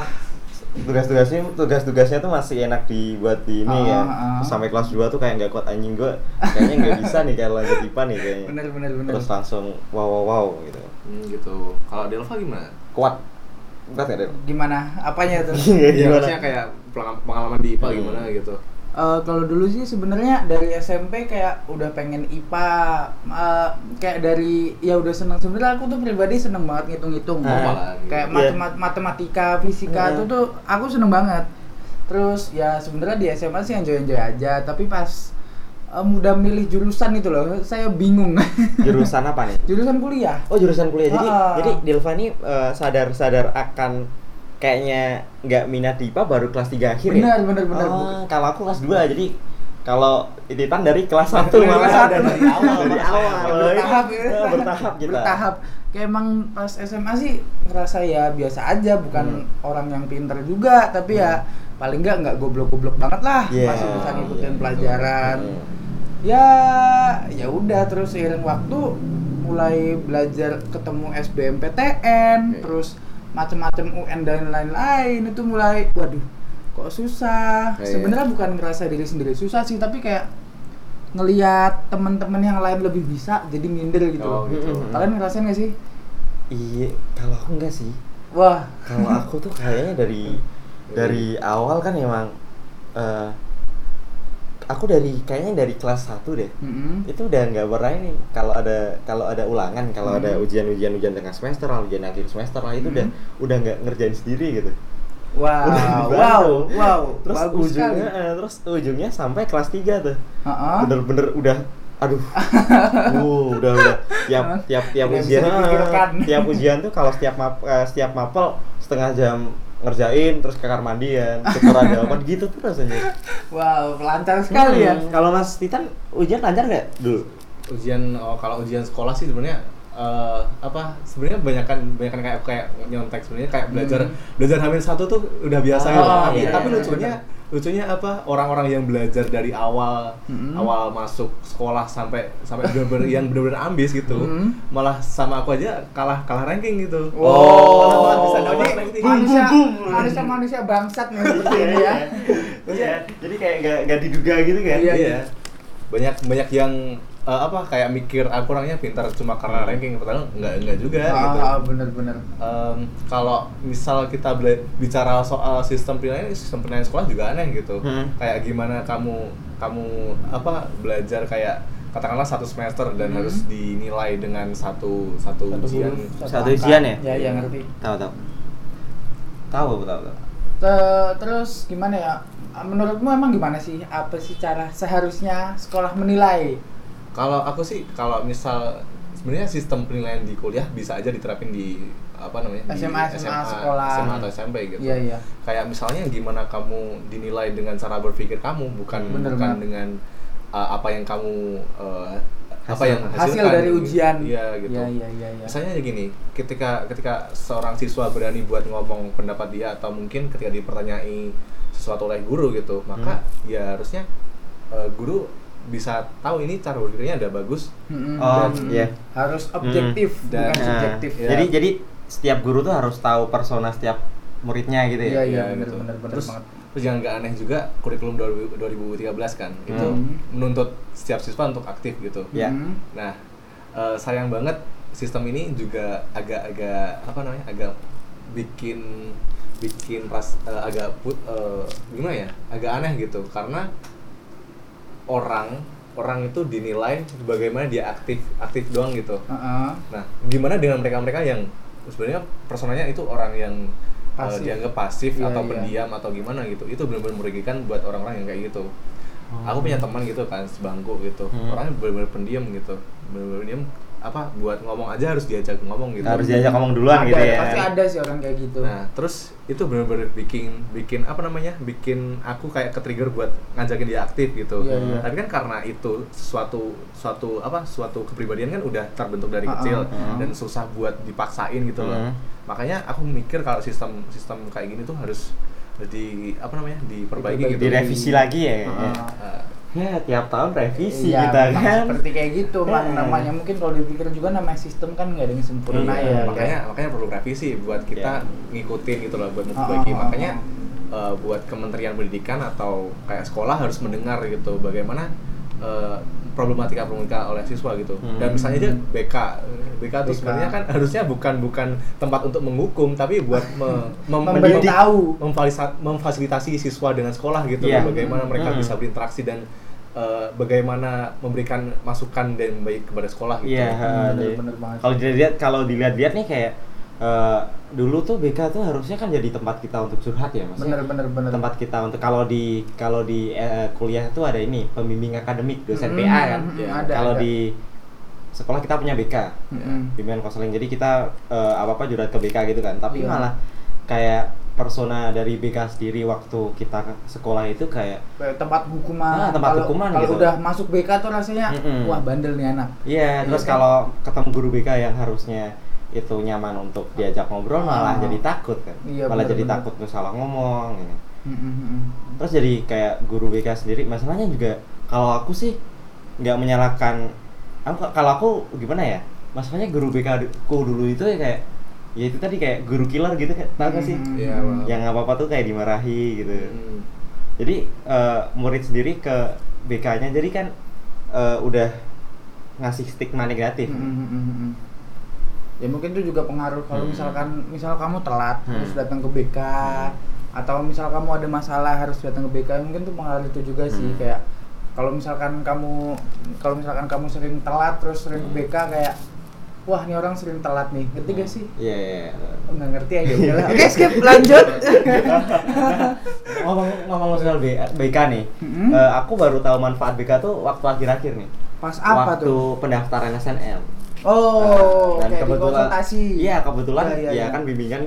[SPEAKER 1] tugas-tugasnya tugas-tugasnya tuh masih enak dibuat di ini ya.
[SPEAKER 2] Ah, ah, ah.
[SPEAKER 1] Terus sampai kelas 2 tuh kayak nggak kuat anjing gua kayaknya nggak bisa nih kalau lanjut IPA nih kayaknya.
[SPEAKER 2] <laughs> bener bener bener
[SPEAKER 1] Terus langsung wow wow wow gitu.
[SPEAKER 3] Hmm, gitu. Kalau Delva gimana?
[SPEAKER 1] Kuat. Kuat ya, Del?
[SPEAKER 2] gimana apanya tuh
[SPEAKER 3] Iya,
[SPEAKER 1] Gimana?
[SPEAKER 3] maksudnya kayak pengalaman- pengalaman di IPA
[SPEAKER 1] Hmm.
[SPEAKER 3] gimana gitu.
[SPEAKER 2] Eh, kalau dulu sih sebenarnya dari SMP kayak udah pengen IPA eh, kayak dari ya udah seneng sebenarnya aku tuh pribadi seneng banget ngitung-ngitung
[SPEAKER 1] Ah.
[SPEAKER 2] Kayak- kayak
[SPEAKER 1] Iya.
[SPEAKER 2] matemat- matematika fisika
[SPEAKER 1] Iya.
[SPEAKER 2] itu tuh aku seneng banget terus ya sebenarnya di SMA sih enjoy-enjoy aja tapi pas eh, udah milih jurusan itu loh saya bingung <laughs>
[SPEAKER 1] Jurusan apa nih?
[SPEAKER 2] jurusan kuliah
[SPEAKER 1] Oh, jurusan kuliah. Jadi
[SPEAKER 2] Ah.
[SPEAKER 1] jadi Delva nih eh, sadar-sadar akan kayaknya nggak minat di IPA baru kelas 3 akhir ya?
[SPEAKER 2] benar benar benar
[SPEAKER 1] Oh, kalau aku kelas 2 jadi kalau Titan dari kelas 1
[SPEAKER 2] Dari
[SPEAKER 1] malah
[SPEAKER 2] kelas satu.
[SPEAKER 1] dari awal
[SPEAKER 3] Dari
[SPEAKER 1] dari awal <laughs>
[SPEAKER 2] bertahap ya.
[SPEAKER 1] Eh, bertahap kita
[SPEAKER 2] bertahap kayak emang pas SMA sih ngerasa ya biasa aja bukan orang yang pinter juga tapi ya paling nggak nggak goblok-goblok banget lah
[SPEAKER 1] Iya,
[SPEAKER 2] masih bisa
[SPEAKER 3] iya,
[SPEAKER 2] ngikutin
[SPEAKER 3] betul.
[SPEAKER 2] pelajaran
[SPEAKER 1] Hmm.
[SPEAKER 2] ya ya udah terus seiring waktu mulai belajar ketemu SBMPTN
[SPEAKER 1] Oke.
[SPEAKER 2] terus macam-macam UN dan lain-lain itu mulai waduh kok susah
[SPEAKER 1] Iya.
[SPEAKER 2] sebenarnya bukan ngerasa diri sendiri susah sih tapi kayak ngelihat teman-teman yang lain lebih bisa jadi minder gitu
[SPEAKER 3] Oh,
[SPEAKER 2] loh.
[SPEAKER 3] gitu.
[SPEAKER 2] kalian ngerasain gak sih
[SPEAKER 1] Iya, kalau aku enggak sih.
[SPEAKER 2] wah <laughs>
[SPEAKER 1] Kalau aku tuh kayaknya dari dari awal kan emang eh, aku dari kayaknya dari kelas 1 deh.
[SPEAKER 2] mm-mm.
[SPEAKER 1] Itu udah nggak pernah ini kalau ada kalau ada ulangan, kalau
[SPEAKER 2] Hmm.
[SPEAKER 1] ada ujian-ujian ujian tengah semester, lah, ujian akhir semester lah itu
[SPEAKER 2] Hmm.
[SPEAKER 1] udah udah nggak ngerjain sendiri gitu.
[SPEAKER 2] wow
[SPEAKER 1] Udah dibantu.
[SPEAKER 2] wow wow
[SPEAKER 1] Terus
[SPEAKER 2] bagus sekali
[SPEAKER 1] ujungnya eh, terus ujungnya sampai kelas 3 tuh.
[SPEAKER 2] Ha-ha.
[SPEAKER 1] bener-bener udah aduh
[SPEAKER 2] <laughs>
[SPEAKER 1] uh, udah udah tiap tiap tiap
[SPEAKER 2] Tidak
[SPEAKER 1] ujian
[SPEAKER 2] bisa dipikirkan.
[SPEAKER 1] <laughs> tiap ujian tuh kalau setiap map, eh, setiap mapel setengah jam ngerjain terus ke kamar mandian
[SPEAKER 2] <laughs>
[SPEAKER 1] tukeran jawaban gitu tuh rasanya
[SPEAKER 2] wow lancar sekali ya
[SPEAKER 1] Hmm, kalau mas Titan ujian lancar nggak dulu
[SPEAKER 3] ujian oh, kalau ujian sekolah sih sebenarnya eh, apa sebenarnya kebanyakan kebanyakan kayak kayak nyontek sebenarnya kayak belajar
[SPEAKER 2] Hmm.
[SPEAKER 3] belajar hamil satu tuh udah biasa
[SPEAKER 2] Oh,
[SPEAKER 3] gitu tapi,
[SPEAKER 1] iya,
[SPEAKER 3] tapi
[SPEAKER 1] iya,
[SPEAKER 3] lucunya lucunya apa orang-orang yang belajar dari awal
[SPEAKER 2] Hmm.
[SPEAKER 3] awal masuk sekolah sampai sampai bener-bener yang bener-bener ambis gitu
[SPEAKER 2] Hmm.
[SPEAKER 3] malah sama aku aja kalah kalah ranking gitu
[SPEAKER 2] Wow. Oh.
[SPEAKER 3] Malah- malah bisa
[SPEAKER 2] Jadi,
[SPEAKER 3] dapat ranking.
[SPEAKER 2] manusia, manusia manusia bangsat nih ini ya.
[SPEAKER 1] Iya, jadi Iya. kayak nggak nggak diduga gitu kan
[SPEAKER 2] Iya,
[SPEAKER 3] iya. Banyak banyak yang eh, apa kayak mikir aku orangnya pintar cuma karena ranking padahal enggak enggak juga gitu.
[SPEAKER 2] Hmm. Ah, bener-bener.
[SPEAKER 3] Em, kalau misal kita bela- bicara soal sistem penilaian, sistem penilaian sekolah juga aneh gitu.
[SPEAKER 1] Hmm.
[SPEAKER 3] Kayak gimana kamu kamu apa belajar kayak katakanlah satu semester dan
[SPEAKER 2] Hmm.
[SPEAKER 3] harus dinilai dengan satu satu, ujian.
[SPEAKER 1] satu ujian ya?
[SPEAKER 2] Ya, ya ngerti.
[SPEAKER 1] tahu tahu tahu aku tahu tahu
[SPEAKER 2] Te- terus gimana ya? Menurutmu emang gimana sih? Apa sih cara seharusnya sekolah menilai?
[SPEAKER 3] Kalau aku sih kalau misal sebenarnya sistem penilaian di kuliah bisa aja diterapin di apa namanya di
[SPEAKER 2] SMA, sekolah.
[SPEAKER 3] SMA atau SMP gitu.
[SPEAKER 2] Iya, iya.
[SPEAKER 3] kayak misalnya gimana kamu dinilai dengan cara berpikir kamu bukan
[SPEAKER 2] Bener
[SPEAKER 3] bukan
[SPEAKER 2] banget.
[SPEAKER 3] dengan uh, apa yang kamu uh, apa
[SPEAKER 1] Hasil-
[SPEAKER 3] yang
[SPEAKER 2] Hasil
[SPEAKER 3] hasilkan,
[SPEAKER 2] dari
[SPEAKER 3] gitu.
[SPEAKER 2] ujian.
[SPEAKER 3] iya gitu
[SPEAKER 2] Iya, iya, iya, iya.
[SPEAKER 3] misalnya ya gini ketika ketika seorang siswa berani buat ngomong pendapat dia atau mungkin ketika dipertanyai sesuatu oleh guru gitu maka
[SPEAKER 2] Hmm.
[SPEAKER 3] ya harusnya uh, guru bisa tahu ini cara berpikirnya ada bagus
[SPEAKER 2] Mm-mm.
[SPEAKER 1] Oh,
[SPEAKER 2] Dan
[SPEAKER 1] iya.
[SPEAKER 2] Harus objektif,
[SPEAKER 3] Mm.
[SPEAKER 2] bukan
[SPEAKER 3] Dan-
[SPEAKER 1] Nah,
[SPEAKER 2] Kan subjektif. Iya.
[SPEAKER 3] ya.
[SPEAKER 1] jadi jadi setiap guru tuh harus tahu persona setiap muridnya gitu
[SPEAKER 2] Iya,
[SPEAKER 1] ya
[SPEAKER 2] iya,
[SPEAKER 3] Ya,
[SPEAKER 2] bener,
[SPEAKER 3] gitu.
[SPEAKER 2] bener, bener
[SPEAKER 3] terus,
[SPEAKER 2] banget.
[SPEAKER 3] terus yang nggak aneh juga kurikulum 2000 2013 kan itu
[SPEAKER 2] Hmm.
[SPEAKER 3] menuntut setiap siswa untuk aktif gitu
[SPEAKER 1] Iya.
[SPEAKER 2] Mm.
[SPEAKER 3] Nah, eh, sayang banget sistem ini juga agak-agak apa namanya? agak bikin bikin ras eh, agak put eh, gimana ya? agak aneh gitu karena orang orang itu dinilai bagaimana dia aktif aktif doang gitu
[SPEAKER 2] Heeh.
[SPEAKER 3] Nah, gimana dengan mereka-mereka yang sebenarnya personanya itu orang yang uh,
[SPEAKER 2] Pasif.
[SPEAKER 3] dianggap pasif
[SPEAKER 2] Iya,
[SPEAKER 3] atau
[SPEAKER 2] iya.
[SPEAKER 3] pendiam atau gimana gitu. Itu benar-benar merugikan buat orang-orang yang kayak gitu. Aku punya teman gitu kan sebangku gitu.
[SPEAKER 1] Hmm.
[SPEAKER 3] Orangnya benar-benar pendiam gitu. Benar-benar pendiam apa buat ngomong aja harus diajak ngomong gitu.
[SPEAKER 1] harus diajak ngomong duluan
[SPEAKER 2] Ada,
[SPEAKER 1] gitu ya
[SPEAKER 2] Pasti ada sih orang kayak gitu.
[SPEAKER 3] Nah, terus itu benar-benar bikin bikin apa namanya? Bikin aku kayak ke-trigger buat ngajakin dia aktif gitu.
[SPEAKER 2] Iya, iya.
[SPEAKER 3] Tapi kan karena itu suatu suatu apa? suatu kepribadian kan udah terbentuk dari
[SPEAKER 2] Ah, ah,
[SPEAKER 3] kecil
[SPEAKER 2] Hmm.
[SPEAKER 1] ah.
[SPEAKER 3] dan susah buat dipaksain gitu loh.
[SPEAKER 1] Mhm.
[SPEAKER 3] Makanya aku mikir kalau sistem sistem kayak gini tuh harus di apa namanya? diperbaiki
[SPEAKER 2] Diperbaiki.
[SPEAKER 3] gitu.
[SPEAKER 1] direvisi lagi ya kayaknya.
[SPEAKER 2] Heeh.
[SPEAKER 3] Eh,
[SPEAKER 1] ya tiap tahun revisi
[SPEAKER 2] Iya,
[SPEAKER 1] kita
[SPEAKER 2] memang
[SPEAKER 1] kan
[SPEAKER 2] Seperti kayak gitu, Bang.
[SPEAKER 1] Iya.
[SPEAKER 2] Namanya mungkin kalau dipikir juga namanya sistem kan nggak ada yang sempurna
[SPEAKER 1] Iya,
[SPEAKER 2] ya.
[SPEAKER 3] makanya makanya perlu revisi buat kita ngikutin gitu loh buat
[SPEAKER 2] Iya. Ah,
[SPEAKER 3] memperbaiki
[SPEAKER 2] ah, ah,
[SPEAKER 3] makanya eh, buat Kementerian Pendidikan atau kayak sekolah harus mendengar gitu bagaimana eh, problematika problematika oleh siswa gitu
[SPEAKER 1] Hmm.
[SPEAKER 3] dan misalnya aja BK BK itu
[SPEAKER 2] BK.
[SPEAKER 3] sebenarnya kan harusnya bukan bukan tempat untuk menghukum tapi buat
[SPEAKER 2] <laughs>
[SPEAKER 3] me- mem-
[SPEAKER 2] Memberitahu.
[SPEAKER 3] memfalisa- memfasilitasi siswa dengan sekolah gitu
[SPEAKER 1] Iya.
[SPEAKER 3] loh, bagaimana mereka
[SPEAKER 1] Hmm.
[SPEAKER 3] bisa berinteraksi dan eh, bagaimana memberikan masukan dan baik kepada sekolah gitu
[SPEAKER 1] Iya,
[SPEAKER 2] Bener,
[SPEAKER 1] jadi
[SPEAKER 2] bener banget.
[SPEAKER 1] kalau dilihat kalau dilihat-lihat nih kayak eh, dulu tuh BK tuh harusnya kan jadi tempat kita untuk curhat ya mas.
[SPEAKER 2] Bener bener bener.
[SPEAKER 1] Tempat kita untuk kalau di kalau di eh, kuliah tuh ada ini pembimbing akademik dosen
[SPEAKER 2] Mm,
[SPEAKER 1] PA kan.
[SPEAKER 2] mm,
[SPEAKER 3] Ya,
[SPEAKER 2] ada,
[SPEAKER 1] Kalau
[SPEAKER 2] ada.
[SPEAKER 1] di sekolah kita punya BK
[SPEAKER 2] Mm-mm.
[SPEAKER 1] bimbingan konseling jadi kita apa apa curhat ke BK gitu kan tapi
[SPEAKER 2] Iya.
[SPEAKER 1] malah kayak persona dari BK sendiri waktu kita ke sekolah itu kayak
[SPEAKER 2] Kayak tempat hukuman.
[SPEAKER 1] Ah, tempat
[SPEAKER 2] Kalau-
[SPEAKER 1] hukuman
[SPEAKER 2] Kalau
[SPEAKER 1] gitu.
[SPEAKER 2] udah masuk BK tuh rasanya
[SPEAKER 1] Mm-mm.
[SPEAKER 2] wah bandel nih anak.
[SPEAKER 1] iya
[SPEAKER 2] Iya
[SPEAKER 1] terus
[SPEAKER 2] kan?
[SPEAKER 1] kalau ketemu guru BK yang harusnya itu nyaman untuk diajak ngobrol malah
[SPEAKER 2] Ah.
[SPEAKER 1] jadi takut kan
[SPEAKER 2] Iya,
[SPEAKER 1] malah
[SPEAKER 2] benar,
[SPEAKER 1] jadi
[SPEAKER 2] benar.
[SPEAKER 1] takut tuh salah ngomong ya kan. ini
[SPEAKER 2] Mm-mm.
[SPEAKER 1] terus jadi kayak guru BK sendiri masalahnya juga kalau aku sih nggak menyalahkan aku kalau aku gimana ya masalahnya guru BK ku dulu itu ya kayak ya itu tadi kayak guru killer gitu kan tau gak sih
[SPEAKER 2] Mm-mm.
[SPEAKER 3] Iya, Bang.
[SPEAKER 1] yang apa apa tuh kayak dimarahi gitu
[SPEAKER 3] Hmm.
[SPEAKER 1] jadi eh, murid sendiri ke BK-nya jadi kan eh, udah ngasih stigma negatif
[SPEAKER 2] Mm, mm, mm, mm. Ya mungkin itu juga pengaruh kalau
[SPEAKER 1] Hmm.
[SPEAKER 2] misalkan misal kamu telat
[SPEAKER 1] Hmm.
[SPEAKER 2] terus datang ke BK atau misal kamu ada masalah harus datang ke BK mungkin tuh pengaruh itu juga sih
[SPEAKER 1] Hmm.
[SPEAKER 2] kayak kalau misalkan kamu kalau misalkan kamu sering telat terus sering
[SPEAKER 1] Hmm.
[SPEAKER 2] ke BK kayak wah ini orang sering telat nih ngerti gak sih?
[SPEAKER 1] iya iya iya.
[SPEAKER 2] Oh, nggak ngerti aja
[SPEAKER 1] <laughs>
[SPEAKER 2] udahlah. Oke skip lanjut.
[SPEAKER 1] ngomong ngomong soal B- BK nih
[SPEAKER 2] Mm-mm.
[SPEAKER 1] eh, aku baru tahu manfaat BK tuh waktu akhir-akhir nih
[SPEAKER 2] Pas apa
[SPEAKER 1] waktu
[SPEAKER 2] tuh?
[SPEAKER 1] pendaftaran SNL
[SPEAKER 2] Oh,
[SPEAKER 1] dan
[SPEAKER 2] kayak di
[SPEAKER 1] kebetulan
[SPEAKER 2] konsultasi.
[SPEAKER 1] iya kebetulan
[SPEAKER 2] Iya,
[SPEAKER 1] ya,
[SPEAKER 2] iya, iya.
[SPEAKER 1] kan bimbingan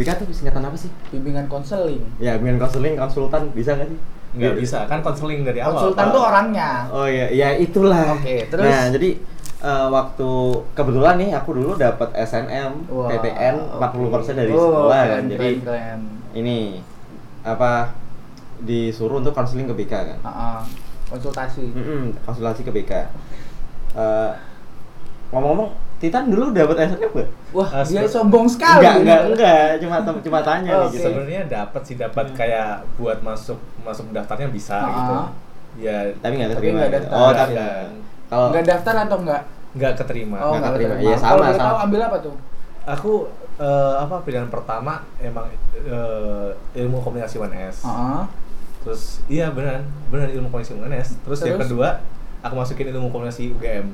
[SPEAKER 1] BK tuh singkatan apa sih
[SPEAKER 2] Bimbingan konseling.
[SPEAKER 1] ya bimbingan konseling konsultan bisa nggak sih
[SPEAKER 3] nggak
[SPEAKER 1] Biar-
[SPEAKER 3] bisa kan konseling dari awal
[SPEAKER 2] Konsultan
[SPEAKER 3] Pak.
[SPEAKER 2] tuh orangnya.
[SPEAKER 1] Oh iya, ya itulah.
[SPEAKER 2] Oke, terus?
[SPEAKER 1] Nah, jadi eh, waktu kebetulan nih aku dulu dapat SNM
[SPEAKER 2] Wah,
[SPEAKER 1] PTN 40% dari
[SPEAKER 2] oke. Oh,
[SPEAKER 1] sekolah kan.
[SPEAKER 2] keren,
[SPEAKER 1] Jadi
[SPEAKER 2] keren, keren.
[SPEAKER 1] ini apa disuruh untuk konseling ke BK kan.
[SPEAKER 2] Ah, ah. konsultasi.
[SPEAKER 1] Mm-mm, konsultasi ke BK. Eh, ngomong-ngomong, Titan dulu dapat SNM nggak?
[SPEAKER 2] Wah,
[SPEAKER 3] Ah,
[SPEAKER 2] dia
[SPEAKER 3] seperti-
[SPEAKER 2] sombong sekali.
[SPEAKER 1] Enggak, enggak, enggak. Cuma cuma tanya nih
[SPEAKER 2] Oke.
[SPEAKER 1] gitu.
[SPEAKER 3] sebenarnya dapat sih dapat kayak buat masuk masuk daftarnya bisa
[SPEAKER 2] Ah.
[SPEAKER 3] gitu ya
[SPEAKER 1] Tapi nggak
[SPEAKER 2] Tapi
[SPEAKER 1] keterima.
[SPEAKER 2] nggak
[SPEAKER 1] ya?
[SPEAKER 2] daftar.
[SPEAKER 1] oh, tapi
[SPEAKER 3] Iya.
[SPEAKER 1] kalau
[SPEAKER 2] Enggak daftar atau enggak? Oh,
[SPEAKER 3] nggak keterima
[SPEAKER 1] nggak keterima. Iya,
[SPEAKER 2] Kalau
[SPEAKER 1] sama,
[SPEAKER 2] boleh
[SPEAKER 1] sama.
[SPEAKER 2] Tahu ambil apa tuh?
[SPEAKER 3] aku eh, apa pilihan pertama emang eh, ilmu komunikasi 1S
[SPEAKER 2] Heeh.
[SPEAKER 3] terus iya beneran beneran ilmu komunikasi 1S terus, yang
[SPEAKER 2] Terus?
[SPEAKER 3] kedua aku masukin ilmu komunikasi UGM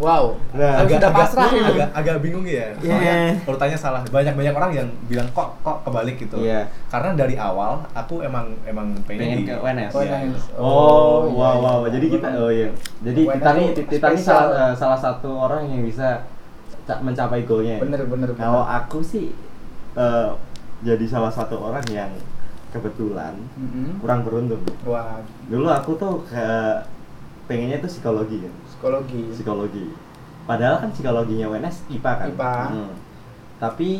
[SPEAKER 2] Wow.
[SPEAKER 1] Nah,
[SPEAKER 2] Harus sudah pasrah.
[SPEAKER 3] agak,
[SPEAKER 2] ini.
[SPEAKER 3] agak, agak bingung ya soalnya
[SPEAKER 1] Iya.
[SPEAKER 3] urutannya salah banyak banyak orang yang bilang kok kok kebalik gitu
[SPEAKER 1] Iya.
[SPEAKER 3] karena dari awal aku emang emang
[SPEAKER 1] Pengen
[SPEAKER 3] pengen, di-
[SPEAKER 1] ke UNS.
[SPEAKER 2] Oh,
[SPEAKER 3] Iya.
[SPEAKER 2] nice.
[SPEAKER 1] Oh, wow,
[SPEAKER 2] iya, iya.
[SPEAKER 1] wow. Jadi kita, oh iya. Jadi
[SPEAKER 2] Wena
[SPEAKER 1] kita nih,
[SPEAKER 2] tuh
[SPEAKER 1] kita nih salah,
[SPEAKER 2] spesial.
[SPEAKER 1] eh, salah satu orang yang bisa ca- mencapai goalnya. ya.
[SPEAKER 2] Bener, bener, bener.
[SPEAKER 1] Kalau aku sih eh, jadi salah satu orang yang kebetulan
[SPEAKER 2] Mm-mm.
[SPEAKER 1] kurang beruntung.
[SPEAKER 2] Wah,
[SPEAKER 1] Dulu aku tuh ke, pengennya tuh psikologi kan,
[SPEAKER 2] psikologi.
[SPEAKER 1] psikologi. Padahal kan psikologinya UNS IPA kan.
[SPEAKER 2] IPA.
[SPEAKER 1] Hmm. Tapi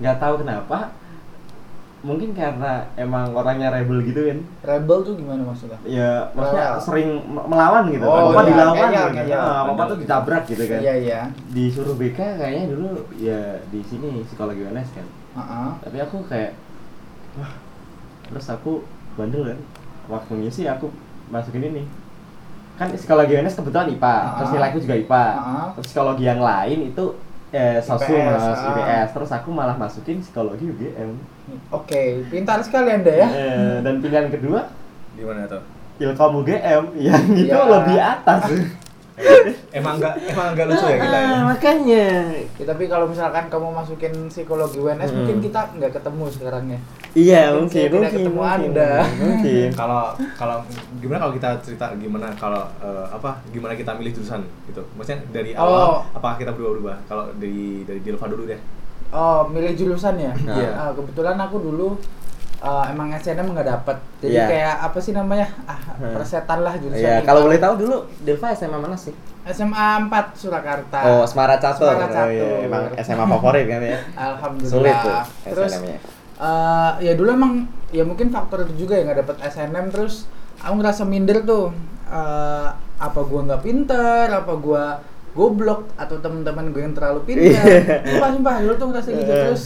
[SPEAKER 1] nggak tahu kenapa, mungkin karena emang orangnya rebel gitu kan.
[SPEAKER 2] Rebel tuh gimana maksudnya?
[SPEAKER 1] ya maksudnya
[SPEAKER 2] Melawan.
[SPEAKER 1] sering me- melawan gitu apa
[SPEAKER 2] Oh, iya,
[SPEAKER 1] dilawan
[SPEAKER 2] kayaknya,
[SPEAKER 1] gitu
[SPEAKER 2] kayaknya.
[SPEAKER 1] Ah, apa
[SPEAKER 3] Benar.
[SPEAKER 1] tuh ditabrak gitu kan
[SPEAKER 2] Iya, iya.
[SPEAKER 1] disuruh BK kayaknya dulu ya di sini psikologi UNS kan
[SPEAKER 2] Heeh.
[SPEAKER 1] tapi aku kayak wah terus aku bandel kan waktu ngisi aku masukin ini kan psikologi UNS kebetulan IPA terus
[SPEAKER 2] Ah.
[SPEAKER 1] nilaiku juga IPA
[SPEAKER 2] Ah.
[SPEAKER 1] terus psikologi yang lain itu eh, sosum
[SPEAKER 2] IPS,
[SPEAKER 1] IPS,
[SPEAKER 2] ah.
[SPEAKER 1] IPS terus aku malah masukin psikologi UGM
[SPEAKER 2] Oke, pintar sekali Anda ya.
[SPEAKER 1] Iya. Eh, dan pilihan kedua
[SPEAKER 3] Di mana tuh?
[SPEAKER 1] Ilkom UGM <laughs> yang itu
[SPEAKER 2] Ya.
[SPEAKER 1] lebih atas.
[SPEAKER 3] emang enggak emang enggak lucu ya kita ya
[SPEAKER 1] Ah, makanya.
[SPEAKER 2] Ya, tapi kalau misalkan kamu masukin psikologi UNS
[SPEAKER 1] Hmm.
[SPEAKER 2] mungkin kita nggak ketemu sekarang ya.
[SPEAKER 1] Iya
[SPEAKER 2] Mungkin saya
[SPEAKER 1] mungkin
[SPEAKER 2] tidak
[SPEAKER 1] mungkin
[SPEAKER 2] ketemu
[SPEAKER 1] mungkin,
[SPEAKER 2] Anda. <laughs>
[SPEAKER 1] mungkin.
[SPEAKER 3] kalau kalau gimana kalau kita cerita gimana kalau eh, apa gimana kita milih jurusan gitu maksudnya dari
[SPEAKER 2] Oh.
[SPEAKER 3] awal apakah kita berubah-ubah kalau dari dari Dilva dulu deh
[SPEAKER 2] Oh, milih jurusan ya?
[SPEAKER 1] Nah.
[SPEAKER 3] Iya.
[SPEAKER 2] Ah, kebetulan aku dulu eh, emang SNM nggak dapet. Jadi
[SPEAKER 1] Iya.
[SPEAKER 2] kayak apa sih namanya? Ah,
[SPEAKER 1] Hmm.
[SPEAKER 2] persetan lah jurusan. gitu.
[SPEAKER 1] Iya,
[SPEAKER 2] kita.
[SPEAKER 1] kalau boleh tahu dulu Dilva SMA mana sih?
[SPEAKER 2] SMA 4 Surakarta.
[SPEAKER 1] Oh, Semarang Catur.
[SPEAKER 2] Semarang Catur.
[SPEAKER 1] Oh, iya, emang SMA favorit kan ya.
[SPEAKER 2] <laughs> Alhamdulillah.
[SPEAKER 1] Sulit tuh
[SPEAKER 2] Terus
[SPEAKER 1] SNM-nya.
[SPEAKER 2] eh, ya dulu emang ya mungkin faktor itu juga ya nggak dapet SNM terus aku ngerasa minder tuh Eh, apa gua nggak pinter apa gua goblok atau teman-teman gue yang terlalu pinter
[SPEAKER 1] Iya.
[SPEAKER 2] sumpah sumpah dulu tuh ngerasa gitu
[SPEAKER 1] Iya.
[SPEAKER 2] terus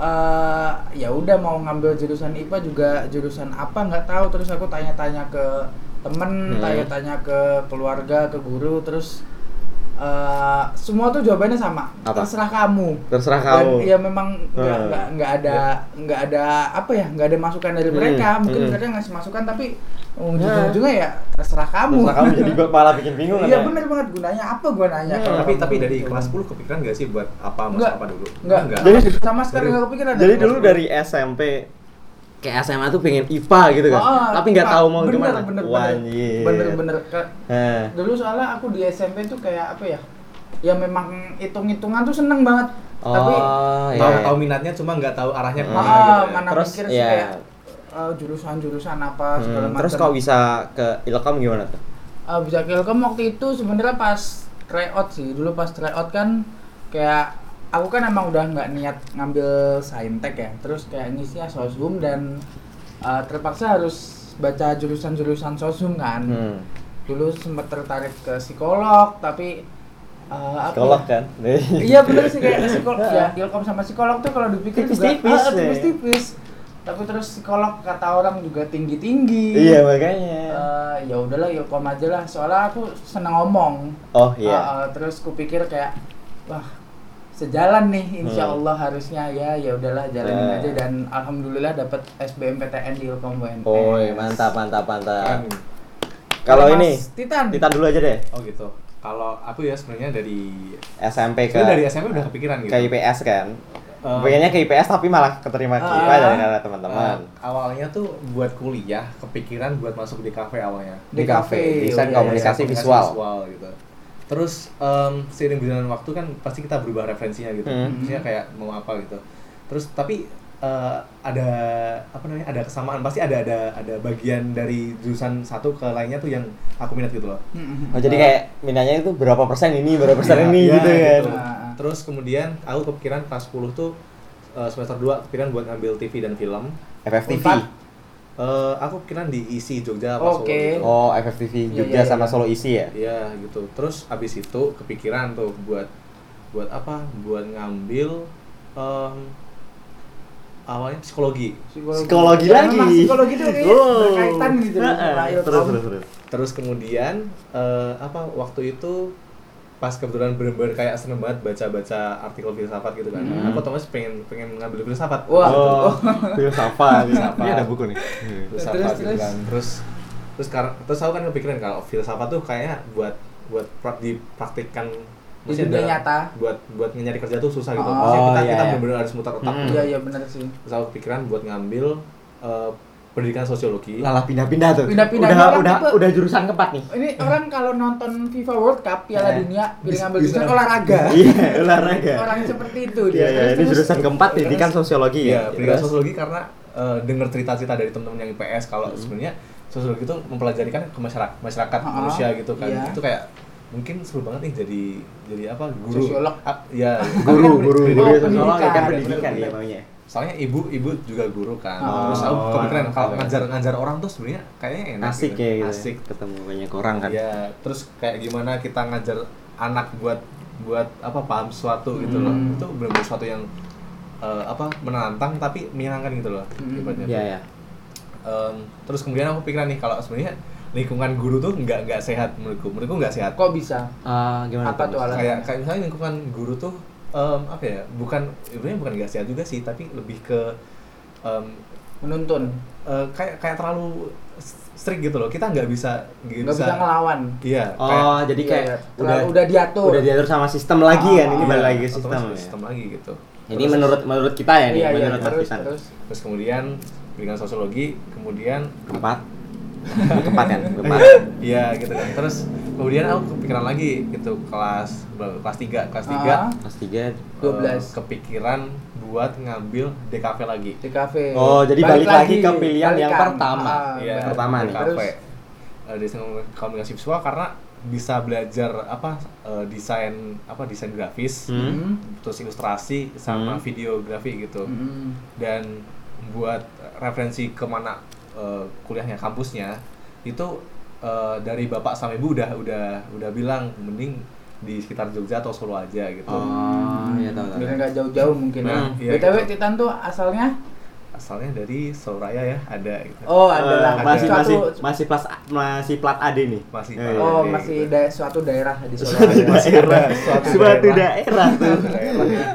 [SPEAKER 2] eh, ya udah mau ngambil jurusan IPA juga jurusan apa nggak tahu terus aku tanya-tanya ke temen
[SPEAKER 1] Hmm.
[SPEAKER 2] tanya-tanya ke keluarga ke guru terus eh, semua tuh jawabannya sama
[SPEAKER 1] Apa?
[SPEAKER 2] terserah kamu
[SPEAKER 1] Terserah
[SPEAKER 2] dan
[SPEAKER 1] kamu.
[SPEAKER 2] ya memang nggak
[SPEAKER 1] Hmm.
[SPEAKER 2] nggak nggak ada nggak ada apa ya nggak ada masukan dari
[SPEAKER 1] Hmm,
[SPEAKER 2] mereka mungkin
[SPEAKER 1] hmm.
[SPEAKER 2] mereka ngasih masukan tapi ujung-ujungnya ya terserah kamu
[SPEAKER 1] Terserah kamu jadi
[SPEAKER 2] <laughs>
[SPEAKER 1] gua malah bikin bingung kan,
[SPEAKER 2] iya
[SPEAKER 1] ya?
[SPEAKER 2] bener banget gunanya apa gua nanya
[SPEAKER 1] Hmm.
[SPEAKER 2] kalau
[SPEAKER 3] tapi
[SPEAKER 2] kamu
[SPEAKER 3] tapi
[SPEAKER 2] belum
[SPEAKER 3] dari
[SPEAKER 2] tahu.
[SPEAKER 3] kelas 10 kepikiran nggak sih buat apa masuk
[SPEAKER 2] Oh. Nggak.
[SPEAKER 3] apa dulu
[SPEAKER 2] nggak
[SPEAKER 3] Nggak.
[SPEAKER 1] Jadi-
[SPEAKER 2] sama sekali
[SPEAKER 3] Jadi-
[SPEAKER 2] nggak kepikiran
[SPEAKER 1] Jadi dulu dari SMP kayak SMA tuh pengen IPA gitu kan.
[SPEAKER 2] Oh,
[SPEAKER 1] Tapi nggak
[SPEAKER 2] Pak,
[SPEAKER 1] tahu mau
[SPEAKER 2] bener,
[SPEAKER 1] gimana.
[SPEAKER 2] bener
[SPEAKER 1] Wah,
[SPEAKER 2] bener
[SPEAKER 1] anjir.
[SPEAKER 2] bener bener Ke-
[SPEAKER 1] Heh.
[SPEAKER 2] dulu soalnya aku di SMP tuh kayak apa ya ya memang hitung-hitungan tuh seneng banget tapi
[SPEAKER 1] Oh, iya.
[SPEAKER 3] tahu tahu minatnya cuma nggak tahu arahnya
[SPEAKER 1] Hmm.
[SPEAKER 3] kemana
[SPEAKER 2] Ah,
[SPEAKER 3] gitu ya.
[SPEAKER 2] mana
[SPEAKER 1] Terus,
[SPEAKER 2] mikir sih
[SPEAKER 1] iya.
[SPEAKER 2] kayak eh, jurusan-jurusan apa
[SPEAKER 1] Hmm,
[SPEAKER 2] segala macam.
[SPEAKER 1] terus kalau bisa ke Ilkom gimana tuh?
[SPEAKER 2] Eh, bisa Ilkom waktu itu sebenarnya pas tryout sih. Dulu pas tryout kan kayak aku kan emang udah nggak niat ngambil saintek ya. Terus kayak ngisinya soshum dan eh, terpaksa harus baca jurusan-jurusan soshum kan.
[SPEAKER 1] Hmm.
[SPEAKER 2] Dulu sempat tertarik ke psikolog tapi eh, apa
[SPEAKER 1] Psikolog
[SPEAKER 2] ya?
[SPEAKER 1] kan?
[SPEAKER 2] <laughs> iya bener sih kayak psikolog ya ilkom sama psikolog tuh kalau dipikir
[SPEAKER 1] Tipis-tipis
[SPEAKER 2] juga ah,
[SPEAKER 1] ya.
[SPEAKER 2] tipis-tipis tapi terus psikolog kata orang juga tinggi-tinggi
[SPEAKER 1] Iya, makanya.
[SPEAKER 2] Eh, ya udahlah ilkom aja lah soalnya aku seneng ngomong
[SPEAKER 1] Oh, iya.
[SPEAKER 2] Ah, ah, terus kupikir kayak wah sejalan nih insya
[SPEAKER 1] Hmm.
[SPEAKER 2] Allah harusnya ya ya udahlah jalanin
[SPEAKER 1] Ya.
[SPEAKER 2] aja dan alhamdulillah dapat SBMPTN di ilkom UNS
[SPEAKER 1] Oi, Oh, iya, mantap, mantap,
[SPEAKER 3] Keren.
[SPEAKER 1] mantap. Kalau
[SPEAKER 2] Mas
[SPEAKER 1] ini
[SPEAKER 2] Titan
[SPEAKER 1] kita dulu aja deh.
[SPEAKER 3] oh gitu kalau aku ya sebenarnya dari
[SPEAKER 1] SMP ke
[SPEAKER 3] sebenarnya dari SMP udah kepikiran gitu
[SPEAKER 1] ke IPS kan.
[SPEAKER 3] Eh,
[SPEAKER 1] Pengennya ke IPS tapi malah keterima
[SPEAKER 2] Ah.
[SPEAKER 1] kita dari dari teman-teman.
[SPEAKER 3] Eh, awalnya tuh buat kuliah, kepikiran buat masuk di kafe awalnya.
[SPEAKER 1] Di
[SPEAKER 2] di
[SPEAKER 1] kafe,
[SPEAKER 2] kafe,
[SPEAKER 1] desain
[SPEAKER 2] iya,
[SPEAKER 1] komunikasi visual.
[SPEAKER 3] gitu. Terus em, seiring berjalan waktu kan pasti kita berubah referensinya gitu.
[SPEAKER 1] Hmm.
[SPEAKER 3] Maksudnya kayak mau apa gitu. Terus tapi eh, ada apa namanya? Ada kesamaan pasti ada ada ada bagian dari jurusan satu ke lainnya tuh yang aku minat gitu loh.
[SPEAKER 2] Mm-mm.
[SPEAKER 1] Oh, jadi
[SPEAKER 3] Eh.
[SPEAKER 1] kayak minatnya itu berapa persen ini, berapa persen
[SPEAKER 3] Iya,
[SPEAKER 1] ini
[SPEAKER 3] iya,
[SPEAKER 1] gitu kan.
[SPEAKER 2] gitu. Ah.
[SPEAKER 3] Terus kemudian aku kepikiran kelas 10 tuh eh, semester 2 kepikiran buat ngambil TV dan film.
[SPEAKER 1] FFTV.
[SPEAKER 2] Unpad.
[SPEAKER 3] Eh, aku kepikiran di ISI Jogja apa Solo
[SPEAKER 2] Oke.
[SPEAKER 3] gitu.
[SPEAKER 1] Oh, FFTV
[SPEAKER 2] Iya,
[SPEAKER 1] Jogja
[SPEAKER 2] iya,
[SPEAKER 1] sama
[SPEAKER 2] iya.
[SPEAKER 1] Solo isi ya?
[SPEAKER 3] Iya gitu. Terus abis itu kepikiran tuh buat buat apa? Buat ngambil em, awalnya psikologi.
[SPEAKER 2] psikologi,
[SPEAKER 1] Psikologi
[SPEAKER 2] Ya,
[SPEAKER 1] lagi.
[SPEAKER 2] memang psikologi tuh kayaknya
[SPEAKER 1] Wow.
[SPEAKER 2] berkaitan gitu loh
[SPEAKER 1] Heeh.
[SPEAKER 2] sama ilkom
[SPEAKER 1] Terus terus terus.
[SPEAKER 3] Terus kemudian eh, apa? Waktu itu pas kebetulan bener-bener kayak seneng banget baca-baca artikel filsafat gitu kan.
[SPEAKER 1] Hmm.
[SPEAKER 3] Aku otomatis pengen pengen ngambil filsafat.
[SPEAKER 2] Wah.
[SPEAKER 1] Oh, <laughs> filsafat.
[SPEAKER 3] Filsafat.
[SPEAKER 1] Ini ada buku nih.
[SPEAKER 3] filsafat
[SPEAKER 2] Terus,
[SPEAKER 3] gitu
[SPEAKER 2] terus.
[SPEAKER 3] kan. Terus terus kar- terus aku kan kepikiran kalau filsafat tuh kayaknya buat buat pra- dipraktikkan
[SPEAKER 2] Di
[SPEAKER 3] maksudnya
[SPEAKER 2] dunia
[SPEAKER 3] dalam-
[SPEAKER 2] nyata.
[SPEAKER 3] buat buat nyari kerja tuh susah gitu.
[SPEAKER 2] Oh,
[SPEAKER 3] Maksudnya kita
[SPEAKER 1] iya,
[SPEAKER 3] kita
[SPEAKER 1] iya.
[SPEAKER 3] bener-bener harus mutar otak.
[SPEAKER 1] Hmm.
[SPEAKER 2] iya iya benar sih
[SPEAKER 3] Terus aku kepikiran buat ngambil eh, pendidikan sosiologi.
[SPEAKER 1] Lalah pindah-pindah tuh.
[SPEAKER 2] Pindah-pindah
[SPEAKER 1] udah
[SPEAKER 2] doang,
[SPEAKER 1] udah
[SPEAKER 2] tipe.
[SPEAKER 1] udah jurusan keempat nih.
[SPEAKER 2] ini orang kalau nonton FIFA World Cup Piala
[SPEAKER 1] Eh,
[SPEAKER 2] Dunia pilih
[SPEAKER 3] bis-
[SPEAKER 2] ngambil
[SPEAKER 3] bisa.
[SPEAKER 2] jurusan olahraga
[SPEAKER 1] <laughs> Iya, olahraga.
[SPEAKER 2] orang seperti itu
[SPEAKER 1] Iya,
[SPEAKER 2] dia
[SPEAKER 1] iya,
[SPEAKER 2] Terus-
[SPEAKER 1] ini
[SPEAKER 2] terus-
[SPEAKER 1] jurusan keempat
[SPEAKER 3] terus-
[SPEAKER 1] pendidikan sosiologi
[SPEAKER 3] Iya,
[SPEAKER 1] ya.
[SPEAKER 3] pendidikan
[SPEAKER 1] Terus?
[SPEAKER 3] sosiologi karena eh, dengar cerita-cerita dari teman-teman yang IPS kalau sebenarnya sosiologi itu mempelajari kan ke masyarakat, masyarakat
[SPEAKER 2] Ha-ha.
[SPEAKER 3] manusia gitu kan.
[SPEAKER 2] Iya.
[SPEAKER 3] Itu kayak mungkin seru banget nih jadi jadi apa guru
[SPEAKER 2] Sosiolog.
[SPEAKER 3] Ah, iya
[SPEAKER 1] guru
[SPEAKER 2] Kan
[SPEAKER 1] guru
[SPEAKER 2] pendidikan.
[SPEAKER 1] guru
[SPEAKER 2] Oh,
[SPEAKER 1] sosiologi kan
[SPEAKER 2] pendidikan.
[SPEAKER 1] pendidikan ya maunya
[SPEAKER 3] soalnya ibu ibu juga guru kan
[SPEAKER 2] Oh.
[SPEAKER 3] terus aku kepikiran
[SPEAKER 1] Oh.
[SPEAKER 3] kalau ngajar ngajar orang tuh sebenarnya kayaknya enak
[SPEAKER 1] asik ya gitu
[SPEAKER 3] asik
[SPEAKER 1] ketemu banyak orang kan
[SPEAKER 3] ya terus kayak gimana kita ngajar anak buat buat apa paham suatu gitu loh
[SPEAKER 2] Hmm.
[SPEAKER 3] itu benar-benar suatu yang eh, apa menantang tapi menyenangkan gitu loh
[SPEAKER 2] Hmm.
[SPEAKER 3] ibaratnya.
[SPEAKER 1] iya ya
[SPEAKER 3] Em, terus kemudian aku pikiran nih kalau sebenarnya lingkungan guru tuh nggak nggak sehat menurutku menurutku nggak sehat
[SPEAKER 2] kok bisa
[SPEAKER 1] Eh, gimana
[SPEAKER 2] Apa tuh, Alan?
[SPEAKER 3] kayak kayak misalnya lingkungan guru tuh em, apa ya bukan sebenarnya bukan nggak sehat juga sih tapi lebih ke em,
[SPEAKER 2] menuntun
[SPEAKER 3] eh, kayak kayak terlalu strict gitu loh. Kita nggak bisa nggak
[SPEAKER 2] nggak bisa ngelawan
[SPEAKER 3] Iya. kayak-
[SPEAKER 1] Oh, jadi kayak
[SPEAKER 2] Iya,
[SPEAKER 1] udah
[SPEAKER 2] terlalu- udah diatur
[SPEAKER 1] udah diatur sama sistem lagi kan ini
[SPEAKER 2] Ah,
[SPEAKER 1] balik
[SPEAKER 3] iya,
[SPEAKER 1] lagi ke
[SPEAKER 3] otomatis
[SPEAKER 1] sistem. ya.
[SPEAKER 3] sistem lagi gitu.
[SPEAKER 1] Ini
[SPEAKER 3] Terus-
[SPEAKER 1] menurut menurut kita ya nih,
[SPEAKER 2] iya iya
[SPEAKER 1] menurut Mas
[SPEAKER 2] terus
[SPEAKER 1] Pisan.
[SPEAKER 2] terus
[SPEAKER 3] terus kemudian pendidikan sosiologi, kemudian
[SPEAKER 1] Keempat. Keempat
[SPEAKER 2] <laughs>
[SPEAKER 1] kan, keempat.
[SPEAKER 3] Iya gitu kan. Terus kemudian aku kepikiran lagi gitu kelas ber- kelas 3, kelas 3
[SPEAKER 2] Ah.
[SPEAKER 1] Mas tiga.
[SPEAKER 2] 12.
[SPEAKER 3] kepikiran buat ngambil DKV lagi.
[SPEAKER 2] di kafe
[SPEAKER 1] Oh, jadi balik lagi ke pilihan yang
[SPEAKER 2] balikan.
[SPEAKER 1] pertama.
[SPEAKER 2] Ah,
[SPEAKER 1] Iya.
[SPEAKER 2] bener.
[SPEAKER 1] pertama nih.
[SPEAKER 3] DKV.
[SPEAKER 2] Terus?
[SPEAKER 3] Eh, di Senang komunikasi visual karena bisa belajar apa eh, desain apa desain grafis,
[SPEAKER 1] Hmm.
[SPEAKER 2] Hmm.
[SPEAKER 3] terus ilustrasi sama
[SPEAKER 1] Hmm.
[SPEAKER 3] videografi gitu.
[SPEAKER 2] Hmm.
[SPEAKER 3] dan buat referensi kemana eh, kuliahnya kampusnya itu eh, dari bapak sama ibu udah udah udah bilang mending di sekitar Jogja atau Solo aja gitu
[SPEAKER 1] Oh, iya tahu tahu. Hmm,
[SPEAKER 2] Biar nggak jauh-jauh mungkin ya.
[SPEAKER 3] Nah, iya,
[SPEAKER 2] BTW
[SPEAKER 3] gitu.
[SPEAKER 2] Titan tuh asalnya
[SPEAKER 3] asalnya dari Soraya ya ada gitu.
[SPEAKER 2] oh
[SPEAKER 1] Eh,
[SPEAKER 2] adalah
[SPEAKER 1] masih
[SPEAKER 2] suatu-
[SPEAKER 1] masih masih plus masih plat AD nih.
[SPEAKER 3] Masih
[SPEAKER 1] Eh,
[SPEAKER 3] plat.
[SPEAKER 2] oh
[SPEAKER 3] Iya,
[SPEAKER 2] masih
[SPEAKER 3] gitu.
[SPEAKER 2] dae- suatu daerah
[SPEAKER 1] <laughs>
[SPEAKER 2] di Solo.
[SPEAKER 1] Masih daerah.
[SPEAKER 3] Suatu
[SPEAKER 1] Suatu
[SPEAKER 3] daerah.
[SPEAKER 1] daerah tuh.
[SPEAKER 3] ya.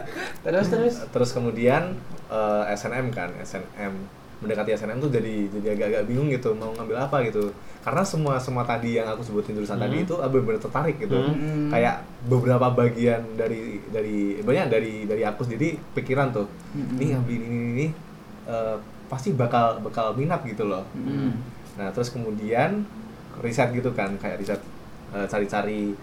[SPEAKER 2] terus terus
[SPEAKER 3] terus kemudian eh, SNM kan SNM mendekati SNM tuh jadi jadi agak-agak bingung gitu mau ngambil apa gitu karena semua semua tadi yang aku sebutin jurusan tadi
[SPEAKER 1] Hmm.
[SPEAKER 3] itu aku benar-benar tertarik gitu
[SPEAKER 2] Hmm.
[SPEAKER 3] kayak beberapa bagian dari dari banyak dari dari aku sendiri pikiran tuh
[SPEAKER 2] Hmm.
[SPEAKER 3] ini ngambil ini ini, ini eh, pasti bakal bakal minat gitu loh
[SPEAKER 2] Hmm.
[SPEAKER 3] Nah, terus kemudian riset gitu kan, kayak riset eh, cari-cari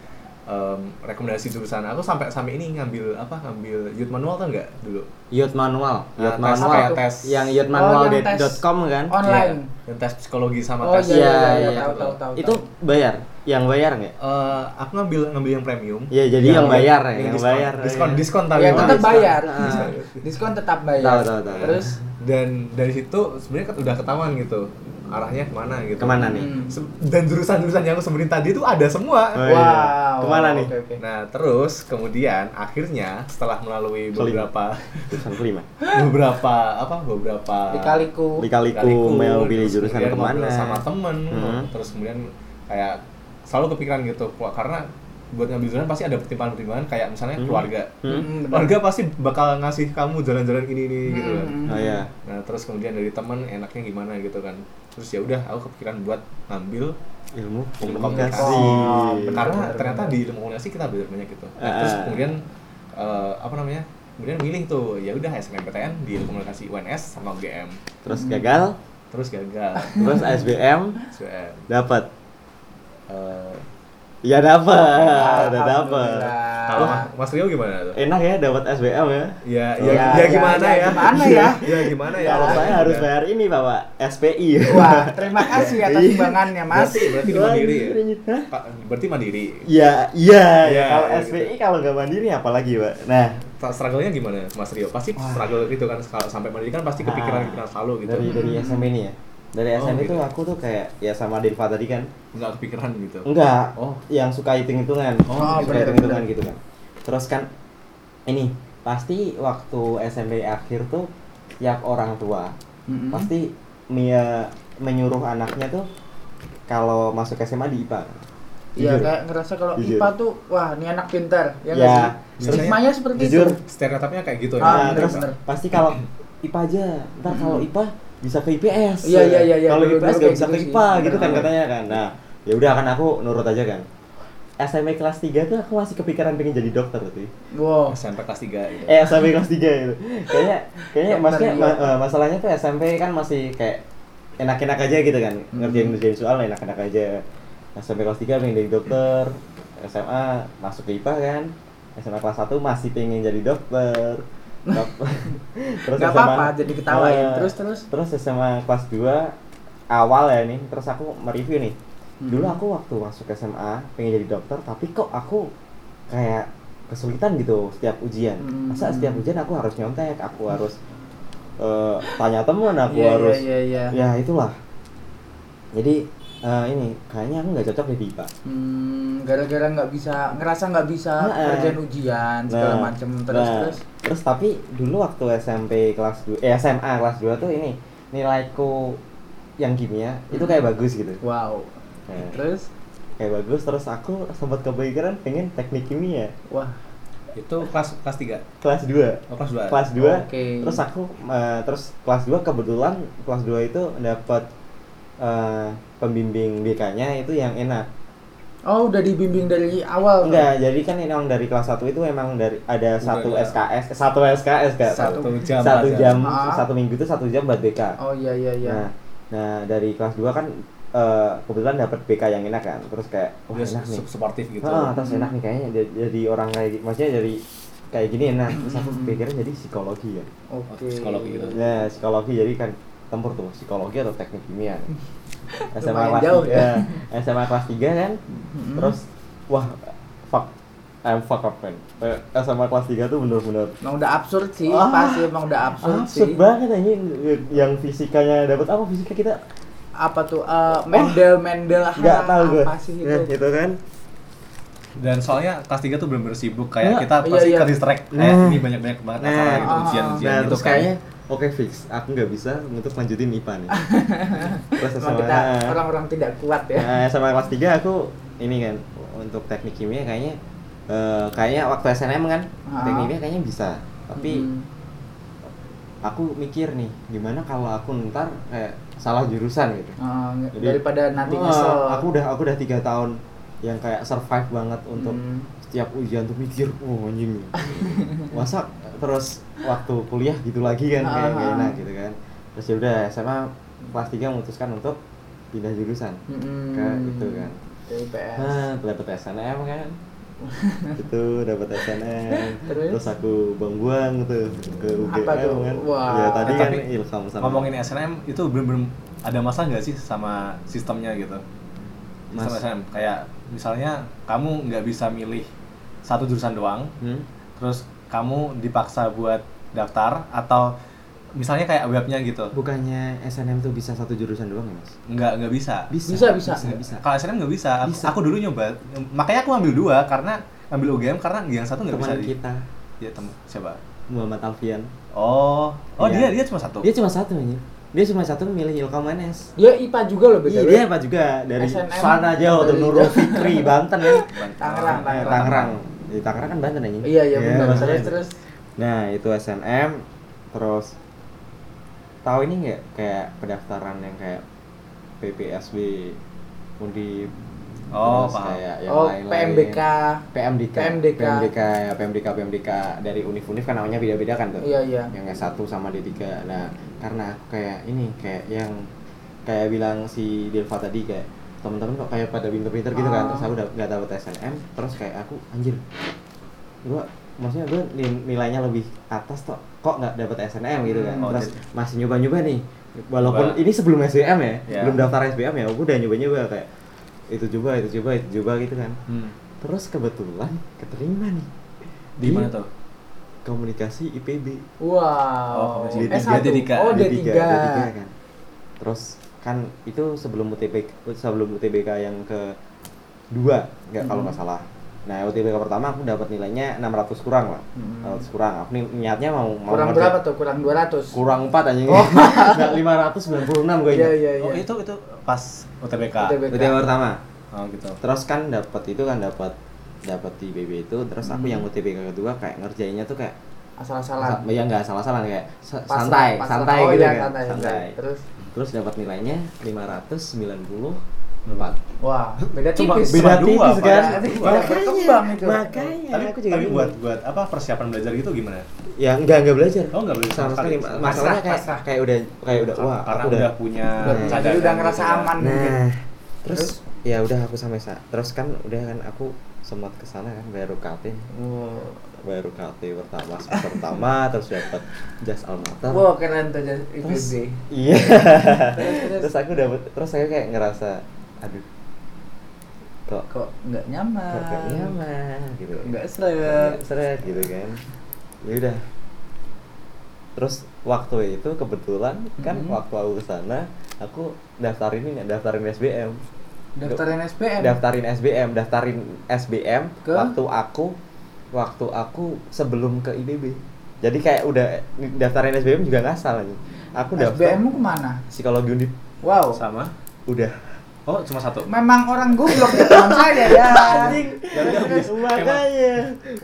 [SPEAKER 3] em, rekomendasi jurusan. Aku sampai sampai ini ngambil apa? Ngambil youth manual tuh enggak dulu?
[SPEAKER 1] Youth manual,
[SPEAKER 3] Nah,
[SPEAKER 1] youth
[SPEAKER 3] tes
[SPEAKER 1] manual
[SPEAKER 3] kayak tes.
[SPEAKER 1] yang
[SPEAKER 2] Oh,
[SPEAKER 1] youthmanual.com kan?
[SPEAKER 2] Online.
[SPEAKER 3] Iya, Yang tes psikologi sama
[SPEAKER 2] Oh,
[SPEAKER 3] tes.
[SPEAKER 2] iya, iya, iya,
[SPEAKER 3] iya,
[SPEAKER 2] tahu,
[SPEAKER 3] iya.
[SPEAKER 2] tahu, tahu,
[SPEAKER 1] Itu
[SPEAKER 2] tahu.
[SPEAKER 1] bayar, yang bayar nggak?
[SPEAKER 3] Eh, aku ngambil ngambil yang premium.
[SPEAKER 1] Iya, jadi yang bayar ya, yang
[SPEAKER 3] diskon,
[SPEAKER 1] bayar,
[SPEAKER 3] Diskon
[SPEAKER 1] iya.
[SPEAKER 3] diskon tapi
[SPEAKER 2] ya
[SPEAKER 3] emang.
[SPEAKER 2] tetap
[SPEAKER 1] diskon.
[SPEAKER 2] bayar.
[SPEAKER 1] Ah.
[SPEAKER 2] Diskon. Diskon tetap
[SPEAKER 1] Tahu,
[SPEAKER 2] bayar.
[SPEAKER 1] tahu, tahu.
[SPEAKER 2] Terus
[SPEAKER 3] dan dari situ sebenarnya kan udah ketahuan gitu arahnya kemana gitu
[SPEAKER 1] Kemana nih?
[SPEAKER 2] Hmm.
[SPEAKER 3] Se- dan jurusan-jurusan yang aku sebutin tadi itu ada semua
[SPEAKER 1] Oh, iya.
[SPEAKER 2] Wow.
[SPEAKER 1] Kemana nih?
[SPEAKER 2] Oke, oke.
[SPEAKER 3] Nah, terus kemudian akhirnya setelah melalui
[SPEAKER 1] Kelima.
[SPEAKER 3] beberapa
[SPEAKER 1] Jurusan kelima.
[SPEAKER 3] beberapa apa beberapa
[SPEAKER 2] Dikaliku.
[SPEAKER 1] Dikaliku mau pilih
[SPEAKER 3] terus
[SPEAKER 1] jurusan
[SPEAKER 3] kemudian
[SPEAKER 1] kemana?
[SPEAKER 3] ngobrol sama temen
[SPEAKER 1] Hmm.
[SPEAKER 3] terus kemudian kayak selalu kepikiran gitu Wah, karena buat ngambil jurusan pasti ada pertimbangan-pertimbangan kayak misalnya
[SPEAKER 1] Hmm.
[SPEAKER 3] keluarga
[SPEAKER 1] Hmm?
[SPEAKER 2] Hmm, benar.
[SPEAKER 3] keluarga pasti bakal ngasih kamu jalan-jalan ini ini gitu kan.
[SPEAKER 2] Hmm.
[SPEAKER 1] Oh iya.
[SPEAKER 3] nah terus kemudian dari temen enaknya gimana gitu kan terus ya udah aku kepikiran buat ngambil
[SPEAKER 1] Ilmu
[SPEAKER 3] Ilmu Oh,
[SPEAKER 1] komunikasi.
[SPEAKER 2] komunikasi.
[SPEAKER 1] Kar-
[SPEAKER 3] karena
[SPEAKER 2] Benar,
[SPEAKER 3] ternyata
[SPEAKER 2] benar.
[SPEAKER 3] di ilmu komunikasi kita belajar banyak gitu Nah,
[SPEAKER 1] Iya. Ah.
[SPEAKER 3] terus kemudian eh, apa namanya kemudian milih tuh ya udah SNMPTN di ilmu komunikasi UNS sama UGM
[SPEAKER 1] Terus gagal,
[SPEAKER 3] terus
[SPEAKER 1] <laughs>
[SPEAKER 3] gagal
[SPEAKER 1] terus SBM
[SPEAKER 3] SBM
[SPEAKER 1] dapat.
[SPEAKER 3] Eh,
[SPEAKER 1] Ya dapat, udah dapat.
[SPEAKER 2] Alhamdulillah.
[SPEAKER 3] kalau Mas- Mas Rio gimana tuh
[SPEAKER 1] Enak ya dapat SBM ya.
[SPEAKER 3] ya
[SPEAKER 1] Ya,
[SPEAKER 3] ya, ya,
[SPEAKER 1] ya,
[SPEAKER 3] gimana
[SPEAKER 2] ya,
[SPEAKER 3] ya
[SPEAKER 2] gimana ya?
[SPEAKER 3] ya gimana ya
[SPEAKER 1] Kalau saya harus bayar ini Bapak, SPI.
[SPEAKER 2] Wah,
[SPEAKER 1] <laughs>
[SPEAKER 2] terima kasih atas
[SPEAKER 1] Iya.
[SPEAKER 2] sumbangannya, Mas.
[SPEAKER 3] berarti berarti mandiri ya
[SPEAKER 1] Hah?
[SPEAKER 3] Pa- berarti mandiri
[SPEAKER 1] Iya, iya.
[SPEAKER 3] Iya,
[SPEAKER 1] kalau
[SPEAKER 3] iya,
[SPEAKER 1] SPI kalau nggak mandiri apalagi, Pak. Nah,
[SPEAKER 3] Ta- struggle-nya gimana Mas Rio pasti struggle gitu kan kalau sampai mandiri kan pasti kepikiran kepikiran selalu gitu
[SPEAKER 1] Ah. dari dari SMP ini ya. Dari
[SPEAKER 3] Oh,
[SPEAKER 1] SMP
[SPEAKER 3] gitu.
[SPEAKER 1] tuh aku tuh kayak ya sama Deva tadi kan.
[SPEAKER 3] nggak kepikiran gitu
[SPEAKER 1] Enggak.
[SPEAKER 3] Oh.
[SPEAKER 1] Yang suka hitung-hitungan.
[SPEAKER 2] Oh,
[SPEAKER 1] Yang suka
[SPEAKER 2] bener,
[SPEAKER 1] hitung-hitungan
[SPEAKER 2] bener.
[SPEAKER 1] gitu kan. Terus kan ini pasti waktu SMP akhir tuh tiap orang tua
[SPEAKER 3] Hmm.
[SPEAKER 2] Mm-mm.
[SPEAKER 1] pasti me- menyuruh anaknya tuh kalau masuk SMA di IPA.
[SPEAKER 2] Iya,
[SPEAKER 1] Jujur.
[SPEAKER 2] kayak ngerasa kalau
[SPEAKER 1] Jujur.
[SPEAKER 2] IPA tuh wah, ini anak pintar.
[SPEAKER 1] Ya,
[SPEAKER 2] Ya enggak sih?
[SPEAKER 3] biasanya-
[SPEAKER 2] Stigmanya seperti
[SPEAKER 1] jujur,
[SPEAKER 2] itu.
[SPEAKER 3] stereotipnya kayak gitu
[SPEAKER 2] Ah,
[SPEAKER 1] Nah,
[SPEAKER 2] bener,
[SPEAKER 1] terus
[SPEAKER 2] bener.
[SPEAKER 1] pasti kalau IPA aja, ntar kalau IPA bisa ke IPS.
[SPEAKER 2] Hmm. Iya, iya, iya, iya.
[SPEAKER 1] Kalau
[SPEAKER 2] Dulu-
[SPEAKER 1] IPS
[SPEAKER 2] dulu
[SPEAKER 1] nggak
[SPEAKER 2] kayak
[SPEAKER 1] bisa
[SPEAKER 2] gitu
[SPEAKER 1] ke
[SPEAKER 2] sih.
[SPEAKER 1] IPA gitu kan
[SPEAKER 3] Bener.
[SPEAKER 1] katanya kan. Nah, ya udah kan aku nurut aja kan. SMP kelas 3 tuh aku masih kepikiran pengen jadi dokter tuh.
[SPEAKER 2] Wow.
[SPEAKER 3] SMP kelas 3 gitu.
[SPEAKER 1] Eh SMP kelas 3 itu. Kayaknya kayaknya
[SPEAKER 2] Dokter
[SPEAKER 1] maksudnya
[SPEAKER 2] juga.
[SPEAKER 1] ma- eh, masalahnya tuh SMP kan masih kayak enak-enak aja gitu kan.
[SPEAKER 2] Hmm.
[SPEAKER 1] Ngerjain ngerjain soal enak-enak aja. SMP kelas 3 pengen jadi dokter. SMA masuk ke IPA kan. SMA kelas 1 masih pengen jadi dokter. Dok- <laughs> terus
[SPEAKER 2] Nggak apa-apa, jadi
[SPEAKER 1] eh,
[SPEAKER 2] ketawain. Terus, terus?
[SPEAKER 1] Terus SMA kelas 2 awal ya nih. Terus aku mereview nih. Hmm. Dulu aku waktu masuk SMA pengen jadi dokter, tapi kok aku kayak kesulitan gitu setiap ujian.
[SPEAKER 2] Hmm.
[SPEAKER 1] Masa setiap ujian aku harus nyontek, aku harus eh, tanya temen, aku
[SPEAKER 2] Iya,
[SPEAKER 1] harus
[SPEAKER 2] iya, iya, iya.
[SPEAKER 1] ya itulah. Jadi eh, ini kayaknya aku nggak cocok di IPA.
[SPEAKER 2] Hmm, gara-gara nggak bisa ngerasa nggak bisa
[SPEAKER 1] Nah, eh.
[SPEAKER 2] kerjain ujian segala macem terus
[SPEAKER 1] nah,
[SPEAKER 2] terus
[SPEAKER 1] terus tapi dulu waktu SMP kelas 2 eh SMA kelas 2 tuh ini nilaiku yang kimia itu kayak
[SPEAKER 2] Hmm.
[SPEAKER 1] bagus gitu.
[SPEAKER 2] wow
[SPEAKER 1] Nah,
[SPEAKER 2] terus
[SPEAKER 1] kayak bagus terus aku sempat kepikiran pengen teknik kimia.
[SPEAKER 2] wah
[SPEAKER 3] Itu kelas kelas 3.
[SPEAKER 1] kelas 2
[SPEAKER 3] Oh, kelas 2.
[SPEAKER 1] kelas 2
[SPEAKER 2] Oke.
[SPEAKER 1] terus aku eh, terus kelas 2 kebetulan kelas 2 itu dapat eh, pembimbing BK-nya itu yang enak
[SPEAKER 2] Oh, udah dibimbing dari awal.
[SPEAKER 1] enggak jadi kan emang dari kelas 1 itu emang dari ada satu
[SPEAKER 3] ada.
[SPEAKER 1] SKS satu SKS Kak.
[SPEAKER 2] Satu
[SPEAKER 3] jam.
[SPEAKER 1] satu
[SPEAKER 3] aja.
[SPEAKER 1] jam
[SPEAKER 2] Ah.
[SPEAKER 1] satu minggu itu satu jam buat BK
[SPEAKER 2] Oh iya iya iya.
[SPEAKER 1] Nah, nah dari kelas 2 kan eh, kebetulan dapat BK yang enak kan. Terus kayak wah
[SPEAKER 3] Dia
[SPEAKER 1] enak nih.
[SPEAKER 3] sup- suportif Iya, gitu.
[SPEAKER 1] Ah, terus enak nih kayaknya jadi, jadi orang kayak gi- maksudnya jadi kayak gini enak. Terus
[SPEAKER 3] <clears throat>
[SPEAKER 1] aku pikirnya jadi psikologi ya.
[SPEAKER 2] Oke.
[SPEAKER 3] Psikologi gitu.
[SPEAKER 1] Nah, psikologi jadi kan tempur tuh psikologi atau teknik
[SPEAKER 2] <laughs>
[SPEAKER 1] kimia. kan. SMA
[SPEAKER 2] Lumayan
[SPEAKER 1] kelas
[SPEAKER 2] jauh, ya. Mm-hmm.
[SPEAKER 1] tiga, ya. SMA kelas 3 kan.
[SPEAKER 2] Mm-mm.
[SPEAKER 1] Terus wah fuck I'm fuck up man. Eh, SMA kelas 3 tuh bener-bener
[SPEAKER 2] Emang udah absurd sih,
[SPEAKER 1] Ah.
[SPEAKER 2] pasti emang udah absurd,
[SPEAKER 1] absurd
[SPEAKER 2] sih.
[SPEAKER 1] banget anjing yang fisikanya dapat apa fisika kita
[SPEAKER 2] Apa tuh eh, Mendel Mendel
[SPEAKER 1] nggak
[SPEAKER 2] ha,
[SPEAKER 1] tahu gue
[SPEAKER 2] Ah, apa sih itu?
[SPEAKER 1] Nah, gitu kan
[SPEAKER 3] Dan soalnya kelas 3 tuh bener-bener sibuk kayak
[SPEAKER 1] Nah,
[SPEAKER 3] kita
[SPEAKER 2] iya,
[SPEAKER 3] pasti
[SPEAKER 2] iya.
[SPEAKER 3] ke distract kayak
[SPEAKER 1] Nah.
[SPEAKER 3] ini banyak-banyak banget
[SPEAKER 1] Nah.
[SPEAKER 3] acara
[SPEAKER 2] Ah,
[SPEAKER 3] gitu,
[SPEAKER 2] ah,
[SPEAKER 3] ujian-ujian
[SPEAKER 1] nah
[SPEAKER 3] gitu
[SPEAKER 1] terus
[SPEAKER 3] kan.
[SPEAKER 1] kayaknya oke fix aku nggak bisa untuk lanjutin IPA
[SPEAKER 2] <laughs>
[SPEAKER 1] nih terus
[SPEAKER 2] Emang
[SPEAKER 1] sama
[SPEAKER 2] kita orang-orang tidak kuat ya.
[SPEAKER 1] nah, sama kelas 3 aku ini kan untuk teknik kimia kayaknya eh, kayaknya waktu SNM kan
[SPEAKER 2] Ah.
[SPEAKER 1] teknik kimia kayaknya bisa tapi
[SPEAKER 2] Mm.
[SPEAKER 1] aku mikir nih gimana kalau aku ntar kayak salah jurusan gitu
[SPEAKER 2] Eh,
[SPEAKER 1] Jadi-
[SPEAKER 2] daripada nanti
[SPEAKER 1] Wah,
[SPEAKER 2] nyesel.
[SPEAKER 1] aku udah aku udah tiga tahun yang kayak survive banget untuk
[SPEAKER 2] Hmm.
[SPEAKER 1] setiap ujian tuh mikir oh
[SPEAKER 2] <laughs>
[SPEAKER 1] anjing masa terus waktu kuliah gitu lagi kan kayak gak
[SPEAKER 2] Ah.
[SPEAKER 1] enak gitu kan terus ya udah SMA kelas 3 memutuskan untuk pindah jurusan
[SPEAKER 2] Mm-mm.
[SPEAKER 1] Kayak gitu kan.
[SPEAKER 2] Ke IPS.
[SPEAKER 1] nah dapat SNM
[SPEAKER 2] <laughs>
[SPEAKER 1] kan Gitu, itu dapat SNM
[SPEAKER 2] Terus?
[SPEAKER 1] terus? aku buang-buang tuh ke UGM
[SPEAKER 2] Apa tuh?
[SPEAKER 1] kan
[SPEAKER 2] Wah.
[SPEAKER 1] ya tadi
[SPEAKER 3] Eh,
[SPEAKER 1] kan
[SPEAKER 3] tapi
[SPEAKER 1] ilham sama
[SPEAKER 3] Ngomongin SNM itu bener-bener ada masalah nggak sih sama sistemnya gitu? Sistem
[SPEAKER 1] Mas-
[SPEAKER 3] SNM kayak misalnya kamu nggak bisa milih satu jurusan doang,
[SPEAKER 1] Hmm?
[SPEAKER 3] terus kamu dipaksa buat daftar atau misalnya kayak webnya gitu
[SPEAKER 1] bukannya SNM tuh bisa satu jurusan doang ya mas
[SPEAKER 3] nggak nggak bisa
[SPEAKER 2] Bisa,
[SPEAKER 1] bisa,
[SPEAKER 2] bisa.
[SPEAKER 1] bisa.
[SPEAKER 3] Nah, kalau SNM nggak bisa. Aku-
[SPEAKER 1] Bisa.
[SPEAKER 3] aku dulu nyoba makanya aku ambil dua karena ambil UGM karena yang satu nggak bisa
[SPEAKER 1] teman
[SPEAKER 3] di
[SPEAKER 1] kita
[SPEAKER 3] ya teman siapa
[SPEAKER 1] Muhammad Alfian
[SPEAKER 3] oh oh
[SPEAKER 1] Iya.
[SPEAKER 3] dia dia cuma satu
[SPEAKER 1] dia cuma satu aja dia cuma satu milih Ilkom NS
[SPEAKER 2] Dia IPA juga loh
[SPEAKER 1] Iya,
[SPEAKER 2] BTW.
[SPEAKER 1] dia apa juga dari
[SPEAKER 2] SNM.
[SPEAKER 1] sana jauh tuh
[SPEAKER 2] Dari-
[SPEAKER 1] Nurul Fikri Banten kan
[SPEAKER 3] Bang-
[SPEAKER 2] Tangerang,
[SPEAKER 1] Eh, Tangerang di Tangerang kan Banten aja
[SPEAKER 2] Iya iya benar. Terus
[SPEAKER 1] Banten.
[SPEAKER 2] terus
[SPEAKER 1] nah itu SNM terus tahu ini nggak kayak pendaftaran yang kayak PPSB Undi
[SPEAKER 3] Oh,
[SPEAKER 1] terus
[SPEAKER 3] paham.
[SPEAKER 1] kayak yang
[SPEAKER 2] oh
[SPEAKER 1] lain-lain.
[SPEAKER 2] PMBK.
[SPEAKER 1] PMDK
[SPEAKER 2] PMDK.
[SPEAKER 1] PMDK ya PMDK PMDK dari univ univ kan namanya beda beda kan tuh
[SPEAKER 2] Iya iya.
[SPEAKER 1] yang S1 sama D3 nah karena aku kayak ini kayak yang kayak bilang si Delva tadi kayak temen-temen kok kayak pada pinter-pinter gitu kan
[SPEAKER 2] Ah.
[SPEAKER 1] terus aku dap- nggak dapet SNM terus kayak aku anjir gua maksudnya gua ni- nilainya lebih atas toh kok nggak dapet SNM gitu kan
[SPEAKER 3] Hmm.
[SPEAKER 1] terus masih nyoba-nyoba nih walaupun
[SPEAKER 3] Coba.
[SPEAKER 1] ini sebelum SBM ya
[SPEAKER 3] Ya.
[SPEAKER 1] belum daftar SBM ya aku udah nyoba-nyoba kayak itu coba itu coba itu coba gitu kan
[SPEAKER 3] Hmm.
[SPEAKER 1] terus kebetulan keterima nih
[SPEAKER 3] di mana
[SPEAKER 1] Iya.
[SPEAKER 3] tuh
[SPEAKER 1] komunikasi IPB
[SPEAKER 2] Wow.
[SPEAKER 3] Oh,
[SPEAKER 1] D3,
[SPEAKER 2] S1.
[SPEAKER 3] D3.
[SPEAKER 2] Oh
[SPEAKER 1] D3,
[SPEAKER 2] D3.
[SPEAKER 1] D3 kan. Terus kan itu sebelum UTBK sebelum UTBK yang ke dua nggak
[SPEAKER 2] Hmm.
[SPEAKER 1] kalau nggak salah. Nah UTBK pertama aku dapat nilainya 600 kurang lah,
[SPEAKER 2] Mm-mm.
[SPEAKER 1] 600 kurang. Aku nih niatnya mau mau
[SPEAKER 2] Hmm. Kurang
[SPEAKER 1] ngerjain-
[SPEAKER 2] berapa tuh? Kurang 200.
[SPEAKER 1] Kurang empat anjing. <laughs> lima 596 gue
[SPEAKER 2] Iya
[SPEAKER 1] ingat.
[SPEAKER 2] iya
[SPEAKER 3] oh
[SPEAKER 2] iya.
[SPEAKER 3] itu itu pas UTBK
[SPEAKER 2] UTBK.
[SPEAKER 1] UTBK pertama.
[SPEAKER 3] oh gitu
[SPEAKER 1] Terus kan dapat itu kan dapat dapat di BB itu terus aku
[SPEAKER 2] Hmm.
[SPEAKER 1] yang UTBK kedua kayak ngerjainnya tuh kayak
[SPEAKER 2] Asal-asalan.
[SPEAKER 1] ya nggak salah-salah kayak sa-
[SPEAKER 2] Pasrah,
[SPEAKER 1] santai
[SPEAKER 2] pasrah.
[SPEAKER 1] santai
[SPEAKER 2] oh,
[SPEAKER 1] gitu
[SPEAKER 2] iya,
[SPEAKER 1] kan
[SPEAKER 2] santai, santai. Terus
[SPEAKER 1] terus dapat nilainya 594
[SPEAKER 2] wah, beda
[SPEAKER 3] Cuma
[SPEAKER 2] tipis.
[SPEAKER 3] beda
[SPEAKER 1] tipis kan?
[SPEAKER 2] Beda berkembang itu.
[SPEAKER 1] makanya
[SPEAKER 3] tapi
[SPEAKER 1] Iya, aku juga
[SPEAKER 3] tapi
[SPEAKER 1] bingung.
[SPEAKER 3] buat buat apa persiapan belajar gitu gimana
[SPEAKER 1] ya enggak enggak belajar
[SPEAKER 3] Oh, enggak belajar
[SPEAKER 1] sama
[SPEAKER 3] sama
[SPEAKER 1] sekali
[SPEAKER 3] sekali.
[SPEAKER 1] masalahnya kayak
[SPEAKER 2] Pasrah, pasrah.
[SPEAKER 1] kayak udah kayak udah wah
[SPEAKER 3] karena
[SPEAKER 1] aku
[SPEAKER 3] udah, punya
[SPEAKER 2] Udah punya,
[SPEAKER 3] cadangan
[SPEAKER 2] jadi udah
[SPEAKER 3] gitu
[SPEAKER 2] ngerasa
[SPEAKER 3] ya.
[SPEAKER 2] aman mungkin.
[SPEAKER 1] nah terus,
[SPEAKER 2] Terus?
[SPEAKER 1] ya udah aku sama Sa terus kan udah kan aku sempat ke sana kan bayar UKT bayar UKT pertama semester
[SPEAKER 2] <laughs>
[SPEAKER 1] pertama terus dapat jas almater
[SPEAKER 2] Wah, keren tuh jas
[SPEAKER 1] terus
[SPEAKER 2] IPB.
[SPEAKER 1] iya terus
[SPEAKER 2] Terus terus
[SPEAKER 1] aku dapat terus saya kayak ngerasa aduh kok
[SPEAKER 2] kok nggak
[SPEAKER 1] kok
[SPEAKER 2] nyaman.
[SPEAKER 1] gak nyaman gitu
[SPEAKER 2] Nggak
[SPEAKER 1] Seret, seret
[SPEAKER 2] seret.
[SPEAKER 1] gitu kan ya udah terus waktu itu kebetulan kan
[SPEAKER 2] Mhm.
[SPEAKER 1] waktu aku kesana aku daftarin ini daftarin SBM
[SPEAKER 2] Daftarin SPM.
[SPEAKER 1] daftarin SBM daftarin SBM
[SPEAKER 2] Ke?
[SPEAKER 1] waktu aku waktu aku sebelum ke IBB jadi kayak udah daftarin SBM juga nggak salah nih aku daftar
[SPEAKER 2] SBM mu kemana?
[SPEAKER 1] psikologi undip
[SPEAKER 2] Wow.
[SPEAKER 3] sama
[SPEAKER 1] udah
[SPEAKER 3] Oh, cuma satu.
[SPEAKER 2] Memang orang goblok di depan saya
[SPEAKER 1] <laughs>
[SPEAKER 2] ya.
[SPEAKER 1] Ya udah habis makanya.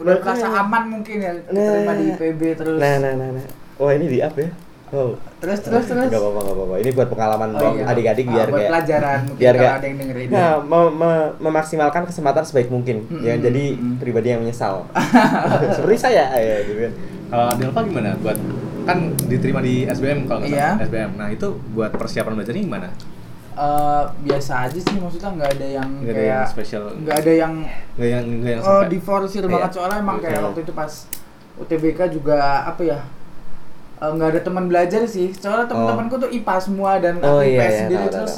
[SPEAKER 2] Udah merasa aman mungkin ya diterima di IPB terus.
[SPEAKER 1] Nah, nah, nah, nah. Oh, ini di up ya. Oh.
[SPEAKER 2] Terus terus terus.
[SPEAKER 1] Gak apa-apa, gak apa-apa. Ini buat pengalaman
[SPEAKER 2] Oh,
[SPEAKER 1] doang,
[SPEAKER 2] iya.
[SPEAKER 1] adik-adik
[SPEAKER 2] Ah,
[SPEAKER 1] biar
[SPEAKER 2] buat
[SPEAKER 1] kayak
[SPEAKER 2] pelajaran mungkin
[SPEAKER 1] biar
[SPEAKER 2] kalau
[SPEAKER 1] kayak-
[SPEAKER 2] ada yang dengerin.
[SPEAKER 1] Nah, me- me- memaksimalkan kesempatan sebaik mungkin. Ya,
[SPEAKER 2] Mm-mm,
[SPEAKER 1] jadi
[SPEAKER 2] mm-mm.
[SPEAKER 1] pribadi yang
[SPEAKER 2] <laughs>
[SPEAKER 1] menyesal. Seperti saya, ya, gitu kan.
[SPEAKER 3] Kalau Delva gimana? Buat kan diterima di SBM kalau nggak salah.
[SPEAKER 2] Iya.
[SPEAKER 3] SBM. Nah itu buat persiapan belajarnya gimana?
[SPEAKER 2] Eh, biasa aja sih maksudnya nggak ada yang
[SPEAKER 3] Nggak ada
[SPEAKER 2] kayak
[SPEAKER 3] yang spesial.
[SPEAKER 2] nggak ada yang
[SPEAKER 3] Nggak yang nggak yang
[SPEAKER 2] oh,
[SPEAKER 3] sampai.
[SPEAKER 2] diforsir
[SPEAKER 3] Iya.
[SPEAKER 2] banget soalnya emang kayak
[SPEAKER 1] Iya.
[SPEAKER 2] waktu itu pas UTBK juga apa ya eh, nggak ada teman belajar sih soalnya teman-temanku tuh IPA semua dan
[SPEAKER 1] Oh, iya,
[SPEAKER 2] aku IPS
[SPEAKER 1] iya,
[SPEAKER 2] sendiri
[SPEAKER 1] tahu,
[SPEAKER 2] terus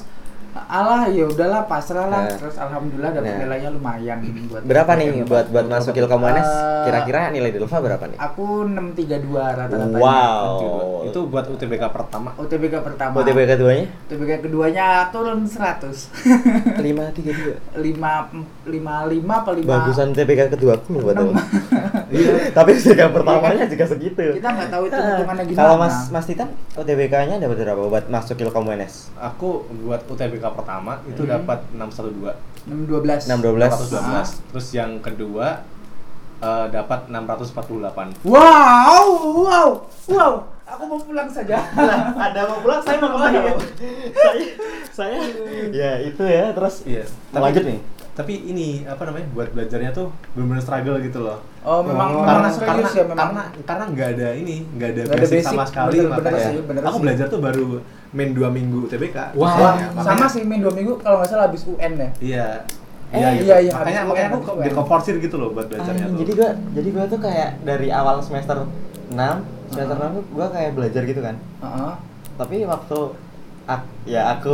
[SPEAKER 2] alah ya udahlah pasrah lah
[SPEAKER 1] Nah.
[SPEAKER 2] terus alhamdulillah
[SPEAKER 1] Nah.
[SPEAKER 2] dapat nilainya lumayan buat
[SPEAKER 1] Berapa nih buat buat masuk ilmu manes?
[SPEAKER 2] Iya, Eh,
[SPEAKER 1] Kira-kira nilai Delva berapa nih?
[SPEAKER 2] aku 632 rata-rata Oh.
[SPEAKER 1] Wow.
[SPEAKER 3] Gitu. Itu buat UTBK pertama.
[SPEAKER 2] UTBK pertama
[SPEAKER 1] OTB
[SPEAKER 2] <laughs>
[SPEAKER 1] keduanya?
[SPEAKER 2] UTBK keduanya turun <laughs> 100
[SPEAKER 1] lima tiga dua.
[SPEAKER 2] 5 55 apa 5
[SPEAKER 1] Bagusan TPK kedua aku loh buat
[SPEAKER 2] Enam.
[SPEAKER 1] teman. <laughs> Iya. Tapi TPK pertamanya juga segitu.
[SPEAKER 2] kita nggak tahu
[SPEAKER 1] Iya.
[SPEAKER 2] itu hitungannya gimana
[SPEAKER 1] Kalau Mas Mas Titan OTBK-nya dapat berapa buat masuk Ilkom UNS?
[SPEAKER 3] Aku buat UTBK pertama itu
[SPEAKER 2] Hmm.
[SPEAKER 3] dapat 612.
[SPEAKER 2] 612
[SPEAKER 1] 612.
[SPEAKER 2] Ah.
[SPEAKER 3] 412. Terus yang kedua eh, dapat 648.
[SPEAKER 2] Wow, wow, wow. Aku mau pulang
[SPEAKER 3] <laughs>
[SPEAKER 2] saja.
[SPEAKER 1] Ada mau pulang saya mau kemana? saya saya ya itu ya terus
[SPEAKER 3] Iya.
[SPEAKER 1] Mau lanjut nih.
[SPEAKER 3] Tapi ini apa namanya? Buat belajarnya tuh benar-benar struggle gitu loh.
[SPEAKER 2] Oh,
[SPEAKER 1] Oh,
[SPEAKER 2] memang memang
[SPEAKER 3] karena karena
[SPEAKER 2] serius ya memang.
[SPEAKER 3] karena karena nggak ada ini nggak ada
[SPEAKER 2] Nggak ada
[SPEAKER 3] basic,
[SPEAKER 2] basic,
[SPEAKER 3] sama sekali
[SPEAKER 2] bener- bener
[SPEAKER 3] makanya
[SPEAKER 1] sih,
[SPEAKER 2] bener
[SPEAKER 3] aku
[SPEAKER 2] sih.
[SPEAKER 3] belajar tuh baru main dua minggu TBK
[SPEAKER 2] Wah,
[SPEAKER 3] biasanya.
[SPEAKER 2] sama
[SPEAKER 3] ya, Makanya-
[SPEAKER 2] sih main 2 minggu kalau nggak salah habis UN ya.
[SPEAKER 3] iya
[SPEAKER 2] Eh,
[SPEAKER 3] iya
[SPEAKER 2] iya,
[SPEAKER 3] iya,
[SPEAKER 2] iya,
[SPEAKER 3] makanya
[SPEAKER 2] habis
[SPEAKER 3] makanya
[SPEAKER 2] UN,
[SPEAKER 3] aku kok
[SPEAKER 2] habis UN.
[SPEAKER 3] dikeforsir gitu loh buat belajarnya
[SPEAKER 2] Ah,
[SPEAKER 1] Anjing,
[SPEAKER 3] tuh
[SPEAKER 1] Ah, jadi gua jadi gua tuh kayak dari awal semester 6 semester
[SPEAKER 2] Uh-huh.
[SPEAKER 1] 6 tuh gua kayak belajar gitu kan
[SPEAKER 2] Heeh.
[SPEAKER 1] tapi waktu ak- ya aku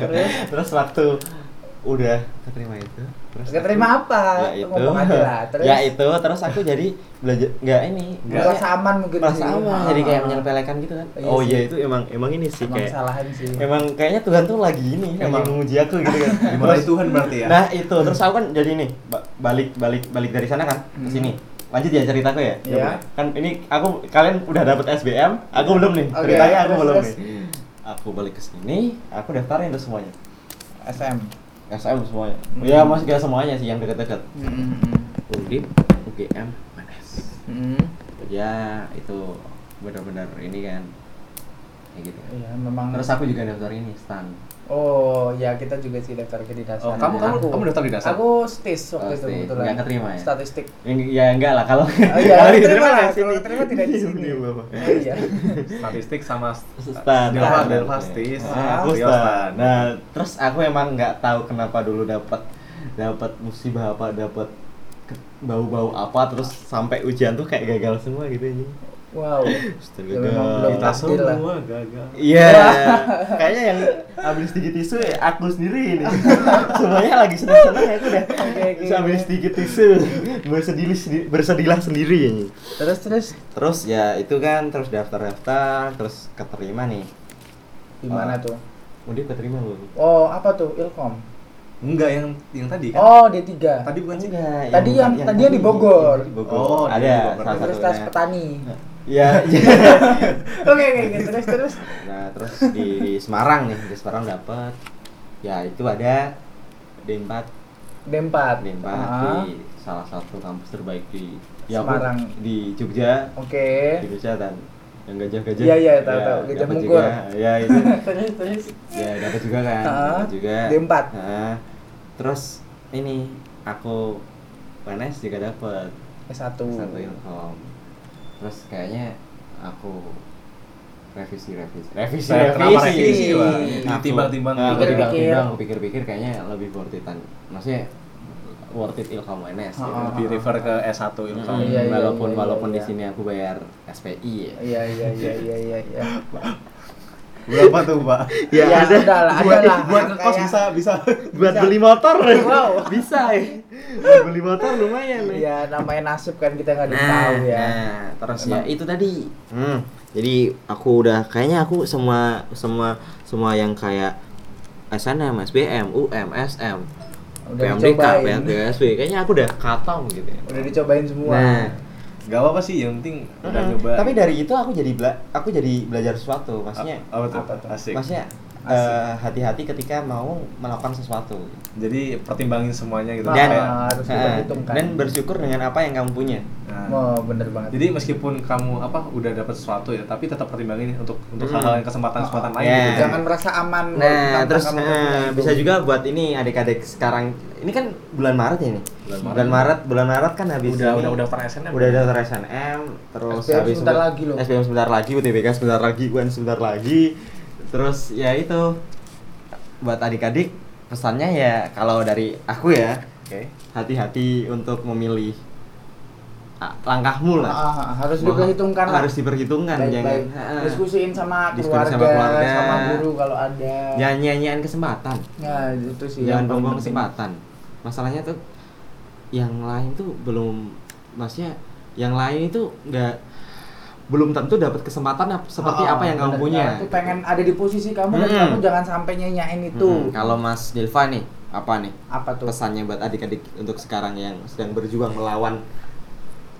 [SPEAKER 1] <laughs> terus waktu udah keterima itu terus
[SPEAKER 2] Nggak terima
[SPEAKER 1] aku-
[SPEAKER 2] apa?
[SPEAKER 1] ya
[SPEAKER 2] Lu
[SPEAKER 1] itu
[SPEAKER 2] Ngomong aja lah. Terus
[SPEAKER 1] ya itu terus aku jadi belajar nggak ini
[SPEAKER 3] Nggak.
[SPEAKER 2] merasa
[SPEAKER 1] maksudnya
[SPEAKER 2] aman mungkin
[SPEAKER 1] merasa
[SPEAKER 2] sih.
[SPEAKER 1] aman
[SPEAKER 2] Ah,
[SPEAKER 1] jadi kayak
[SPEAKER 2] ah.
[SPEAKER 1] menyepelekan gitu kan
[SPEAKER 2] Iya
[SPEAKER 1] oh
[SPEAKER 2] sih.
[SPEAKER 1] iya itu emang emang ini sih
[SPEAKER 2] Emang
[SPEAKER 1] kayak
[SPEAKER 2] kesalahan sih.
[SPEAKER 1] emang kayaknya Tuhan tuh lagi ini emang
[SPEAKER 3] Emang.
[SPEAKER 1] menguji aku gitu kan
[SPEAKER 3] dimarahin
[SPEAKER 1] <laughs> Terus-
[SPEAKER 3] Tuhan berarti ya
[SPEAKER 1] Nah itu terus aku kan jadi nih ba- balik balik balik dari sana kan ke
[SPEAKER 2] Hmm.
[SPEAKER 1] sini. Lanjut ya ceritaku ya.
[SPEAKER 2] Iya.
[SPEAKER 1] Kan ini aku kalian udah dapet SBM, aku belum nih.
[SPEAKER 2] Oke,
[SPEAKER 1] Ceritanya aku
[SPEAKER 2] terus,
[SPEAKER 1] belum
[SPEAKER 2] terus.
[SPEAKER 1] nih. Aku balik ke sini, aku daftarin tuh semuanya.
[SPEAKER 2] SM.
[SPEAKER 1] SM semuanya.
[SPEAKER 2] Hmm.
[SPEAKER 1] Ya masih gak semuanya sih yang deket-deket.
[SPEAKER 2] Heeh.
[SPEAKER 1] Undip, UGM, UNS.
[SPEAKER 2] Heeh.
[SPEAKER 1] Ya itu benar-benar ini kan kayak gitu. kan.
[SPEAKER 2] Iya, memang
[SPEAKER 1] Terus aku juga daftar ini stan.
[SPEAKER 2] Oh, ya kita juga sih daftar ke dinas.
[SPEAKER 3] oh kamu kamu
[SPEAKER 1] Aku-
[SPEAKER 3] kamu daftar di dasar
[SPEAKER 2] Aku stis
[SPEAKER 1] Oh,
[SPEAKER 2] waktu itu
[SPEAKER 1] stis.
[SPEAKER 2] kebetulan.
[SPEAKER 1] Nggak keterima ya?
[SPEAKER 2] Statistik.
[SPEAKER 1] Yang- Ya enggak lah kalau
[SPEAKER 2] Oh iya,
[SPEAKER 1] <laughs> kalau
[SPEAKER 2] terima
[SPEAKER 1] diterima
[SPEAKER 2] lah.
[SPEAKER 1] di sini. Iya,
[SPEAKER 2] Kalau terima tidak di sini.
[SPEAKER 1] Bapak.
[SPEAKER 2] Oh, iya.
[SPEAKER 3] statistik sama
[SPEAKER 1] Stan.
[SPEAKER 3] Delva
[SPEAKER 1] Stan.
[SPEAKER 3] Delva Stis
[SPEAKER 1] Nah, aku
[SPEAKER 3] Rio
[SPEAKER 1] Stan.
[SPEAKER 3] Stan.
[SPEAKER 1] Nah, terus aku emang nggak tahu kenapa dulu dapat dapat musibah apa, dapat ke- bau-bau apa, terus sampai ujian tuh kayak gagal semua gitu aja.
[SPEAKER 2] Wow.
[SPEAKER 1] Terus
[SPEAKER 2] Ya, memang belum
[SPEAKER 3] kita
[SPEAKER 2] takdir lah.
[SPEAKER 3] semua gagal
[SPEAKER 1] Iya, kayaknya yang ambil sedikit tisu ya aku <laughs> sendiri ini. Semuanya lagi seneng-seneng ya aku udah
[SPEAKER 2] Oke, oke.
[SPEAKER 1] bisa ambil sedikit tisu, bersedih bersedilah sendiri ya. Nyi.
[SPEAKER 2] Terus terus
[SPEAKER 1] Terus ya itu kan terus daftar-daftar, terus keterima nih.
[SPEAKER 2] gimana
[SPEAKER 1] Oh.
[SPEAKER 2] tuh?
[SPEAKER 1] Udah keterima belum?
[SPEAKER 2] Oh, apa tuh? Ilkom.
[SPEAKER 3] enggak yang yang tadi kan
[SPEAKER 2] Oh, D3.
[SPEAKER 3] tadi bukan sih
[SPEAKER 1] Enggak,
[SPEAKER 2] Tadi yang- tadi yang di Bogor.
[SPEAKER 1] di
[SPEAKER 3] Oh,
[SPEAKER 1] ada salah
[SPEAKER 3] di Bogor.
[SPEAKER 1] satunya.
[SPEAKER 2] Universitas Petani.
[SPEAKER 1] <laughs> Iya, iya.
[SPEAKER 2] <laughs> Oke, oke, oke. Terus terus.
[SPEAKER 1] Nah, terus di, di Semarang nih, di Semarang dapat. Ya, itu ada D4,
[SPEAKER 2] D4.
[SPEAKER 1] D4
[SPEAKER 2] Ah,
[SPEAKER 1] di salah satu kampus terbaik di aku
[SPEAKER 2] Semarang.
[SPEAKER 1] di Jogja,
[SPEAKER 2] Oke.
[SPEAKER 1] di Jogja dan yang gajah-gajah.
[SPEAKER 2] Iya, iya, tahu, tahu. Gajah
[SPEAKER 1] dapat
[SPEAKER 2] Mungkur.
[SPEAKER 1] juga. Ya,
[SPEAKER 2] <laughs>
[SPEAKER 1] itu.
[SPEAKER 2] Terus terus.
[SPEAKER 1] ya, dapat juga kan.
[SPEAKER 2] Ah,
[SPEAKER 1] dapat juga.
[SPEAKER 2] D4.
[SPEAKER 1] Nah, terus ini aku PNS juga dapat.
[SPEAKER 2] S1.
[SPEAKER 1] satu ya. ilkom terus kayaknya aku revisi revisi revisi
[SPEAKER 3] Nah, kenapa
[SPEAKER 2] revisi, Bang?
[SPEAKER 1] Aku-
[SPEAKER 3] Ditimbang-timbang.
[SPEAKER 1] Nah, aku
[SPEAKER 2] Pikir-pikir.
[SPEAKER 1] timbang-timbang aku pikir-pikir kayaknya lebih worth it maksudnya worth it ilkom UNS gitu.
[SPEAKER 2] Ah,
[SPEAKER 3] di refer ke S1 Ilkom
[SPEAKER 1] Hmm,
[SPEAKER 2] Iya, iya,
[SPEAKER 1] walaupun
[SPEAKER 2] iya, iya,
[SPEAKER 1] walaupun di
[SPEAKER 2] iya.
[SPEAKER 1] sini aku bayar SPI ya.
[SPEAKER 2] Iya, iya, iya, iya, iya,
[SPEAKER 1] <laughs>
[SPEAKER 2] iya.
[SPEAKER 3] berapa tuh mbak
[SPEAKER 2] Ya, udah lah, ada lah.
[SPEAKER 3] buat ngekos
[SPEAKER 2] Kayak-
[SPEAKER 3] bisa bisa
[SPEAKER 1] buat
[SPEAKER 2] Bisa.
[SPEAKER 1] beli motor
[SPEAKER 2] Wow.
[SPEAKER 1] bisa ya. buat beli motor lumayan ya.
[SPEAKER 2] Iya, namanya nasib kan kita nggak ada yang
[SPEAKER 1] Nah,
[SPEAKER 2] tahu ya.
[SPEAKER 1] nah, terus ya
[SPEAKER 2] Emang.
[SPEAKER 1] itu tadi. Hmm, jadi aku udah kayaknya aku semua semua semua yang kayak SNM, SBM, UM, SM,
[SPEAKER 2] Udah
[SPEAKER 1] PMDK,
[SPEAKER 2] dicobain.
[SPEAKER 1] PMDKSB, kayaknya aku udah katam gitu. ya.
[SPEAKER 2] Udah dicobain semua.
[SPEAKER 1] Nah,
[SPEAKER 3] Gak apa-apa sih, yang penting udah
[SPEAKER 1] mm-mm.
[SPEAKER 3] nyoba.
[SPEAKER 1] Tapi dari itu aku jadi bela- aku jadi belajar sesuatu, maksudnya
[SPEAKER 3] A- apa tuh?
[SPEAKER 2] Apa tuh?
[SPEAKER 3] Oh, Asik.
[SPEAKER 1] maksudnya eh, hati-hati ketika mau melakukan sesuatu
[SPEAKER 3] Jadi pertimbangin semuanya gitu.
[SPEAKER 1] Dan-
[SPEAKER 3] Kayak,
[SPEAKER 2] harus
[SPEAKER 1] Eh,
[SPEAKER 2] diperhitungkan.
[SPEAKER 1] dan bersyukur dengan apa yang kamu punya
[SPEAKER 3] nah,
[SPEAKER 2] Oh, bener banget.
[SPEAKER 3] Jadi meskipun kamu apa udah dapat sesuatu ya, tapi tetap pertimbangin untuk untuk
[SPEAKER 1] Hmm.
[SPEAKER 3] hal-hal yang
[SPEAKER 2] Ah,
[SPEAKER 3] kesempatan-kesempatan lain.
[SPEAKER 1] Ya.
[SPEAKER 3] Gitu.
[SPEAKER 2] jangan merasa aman
[SPEAKER 1] Nah,
[SPEAKER 2] tentang
[SPEAKER 1] terus
[SPEAKER 2] kamu gitu.
[SPEAKER 1] eh,
[SPEAKER 2] punya itu.
[SPEAKER 1] bisa juga buat ini adik-adik sekarang. Ini kan bulan Maret ya ini.
[SPEAKER 3] Bulan
[SPEAKER 1] Bulan
[SPEAKER 3] Maret.
[SPEAKER 1] Maret, bulan Maret, kan habis
[SPEAKER 3] Udah
[SPEAKER 1] ini.
[SPEAKER 3] udah udah pernah SNM.
[SPEAKER 1] udah daftar SNM, terus
[SPEAKER 2] SBM sebentar
[SPEAKER 1] itu-
[SPEAKER 2] lagi loh.
[SPEAKER 1] SBM sebentar lagi, UTBK sebentar lagi, UN sebentar lagi. Terus ya itu buat adik-adik pesannya ya kalau dari aku ya
[SPEAKER 3] Oke.
[SPEAKER 1] hati-hati untuk memilih ah, langkahmu
[SPEAKER 2] Ah,
[SPEAKER 1] lah.
[SPEAKER 2] ah, ah, harus diperhitungkan lah.
[SPEAKER 1] Harus diperhitungkan jangan.
[SPEAKER 2] Baik-baik.
[SPEAKER 1] ah, ah.
[SPEAKER 2] Diskusiin sama keluarga,
[SPEAKER 1] Diskusi sama
[SPEAKER 2] sama,
[SPEAKER 1] keluarga.
[SPEAKER 2] guru kalau ada.
[SPEAKER 1] Jangan nyanyian kesempatan.
[SPEAKER 2] Nah, itu sih.
[SPEAKER 1] jangan
[SPEAKER 2] yang paling
[SPEAKER 1] buang-buang
[SPEAKER 2] penting.
[SPEAKER 1] kesempatan masalahnya tuh yang lain tuh belum maksudnya yang lain itu nggak belum tentu dapat kesempatan ap- seperti
[SPEAKER 2] Ah,
[SPEAKER 1] apa yang kamu
[SPEAKER 2] bener.
[SPEAKER 1] punya
[SPEAKER 2] Aku pengen ada di posisi kamu dan
[SPEAKER 1] Mm-mm.
[SPEAKER 2] kamu jangan sampai nyanyain itu.
[SPEAKER 1] Mm-mm. Hmm, kalau Mas Dilva nih apa nih
[SPEAKER 2] Apa tuh?
[SPEAKER 1] pesannya buat adik-adik untuk sekarang yang sedang berjuang melawan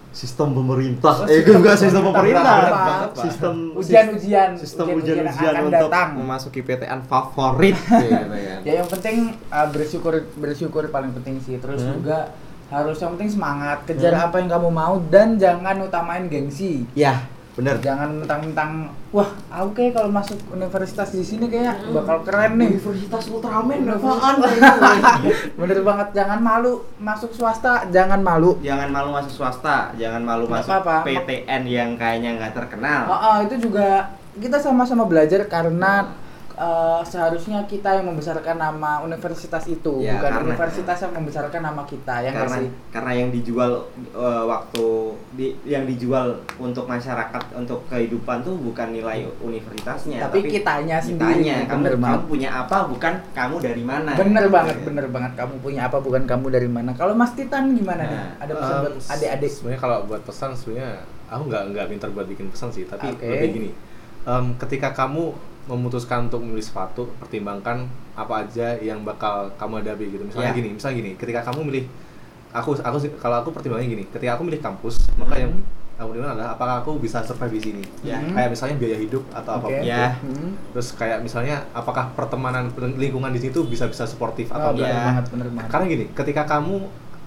[SPEAKER 1] sistem pemerintah
[SPEAKER 2] Oh,
[SPEAKER 1] eh
[SPEAKER 2] sistem
[SPEAKER 1] bukan sistem
[SPEAKER 2] pemerintah.
[SPEAKER 1] pemerintah
[SPEAKER 2] Apa?
[SPEAKER 1] sistem
[SPEAKER 2] Ujian-ujian,
[SPEAKER 1] sistem
[SPEAKER 2] ujian-ujian yang
[SPEAKER 1] ujian-ujian
[SPEAKER 2] akan
[SPEAKER 1] untuk
[SPEAKER 2] datang.
[SPEAKER 1] memasuki PTN favorit
[SPEAKER 2] <laughs>
[SPEAKER 1] gitu kan.
[SPEAKER 2] Ya yang penting uh, bersyukur bersyukur paling penting sih. Terus
[SPEAKER 1] Hmm.
[SPEAKER 2] juga harus yang penting semangat, kejar
[SPEAKER 1] Hmm.
[SPEAKER 2] apa yang kamu mau dan jangan utamain gengsi.
[SPEAKER 1] ya bener
[SPEAKER 2] Jangan mentang-mentang wah, aku kayak kalau masuk universitas di sini kayak bakal keren nih.
[SPEAKER 1] Universitas Ultraman
[SPEAKER 2] Bener banget, jangan malu masuk swasta, jangan malu.
[SPEAKER 1] jangan malu masuk swasta, jangan malu masuk
[SPEAKER 2] Nggak apa-apa.
[SPEAKER 1] PTN yang kayaknya nggak terkenal.
[SPEAKER 2] Oh, oh, itu juga kita sama-sama belajar karena eh, seharusnya kita yang membesarkan nama universitas itu,
[SPEAKER 1] Ya,
[SPEAKER 2] bukan
[SPEAKER 1] karena-
[SPEAKER 2] universitas yang membesarkan nama kita. ya Yang
[SPEAKER 1] karena
[SPEAKER 2] kasih
[SPEAKER 1] karena yang dijual eh, waktu di- yang dijual untuk masyarakat untuk kehidupan tuh bukan nilai universitasnya,
[SPEAKER 2] Tapi kitanya sendiri,
[SPEAKER 1] ya, kitanya. kamu,
[SPEAKER 2] bener banget.
[SPEAKER 1] kamu punya apa bukan kamu dari mana.
[SPEAKER 2] bener
[SPEAKER 1] Gitu
[SPEAKER 2] banget,
[SPEAKER 1] ya.
[SPEAKER 2] bener banget. Kamu punya apa bukan kamu dari mana? Kalau Mas Titan gimana nih?
[SPEAKER 1] Nah,
[SPEAKER 2] Ada pesan buat
[SPEAKER 3] Um,
[SPEAKER 2] adik-adik?
[SPEAKER 3] Sebenarnya kalau buat pesan sebenarnya aku nggak nggak pintar buat bikin pesan sih, tapi
[SPEAKER 2] Oke.
[SPEAKER 3] lebih gini. em, ketika kamu memutuskan untuk memilih sepatu, pertimbangkan apa aja yang bakal kamu hadapi gitu. Misalnya
[SPEAKER 1] Ya.
[SPEAKER 2] Iya.
[SPEAKER 3] gini, misalnya gini, ketika kamu milih aku aku sih- kalau aku pertimbangannya gini, ketika aku milih kampus,
[SPEAKER 2] Hmm.
[SPEAKER 3] maka yang aku pertimbangkan adalah apakah aku bisa survive di sini.
[SPEAKER 1] Ya.
[SPEAKER 2] Hmm.
[SPEAKER 3] Kayak misalnya biaya hidup atau
[SPEAKER 2] Oke.
[SPEAKER 3] apapun.
[SPEAKER 1] Ya.
[SPEAKER 2] Hmm.
[SPEAKER 3] Terus kayak misalnya apakah pertemanan lingkungan di situ bisa-bisa suportif
[SPEAKER 2] Oh,
[SPEAKER 3] atau enggak.
[SPEAKER 2] bener
[SPEAKER 1] Iya.
[SPEAKER 2] banget, bener banget.
[SPEAKER 3] Karena gini, ketika kamu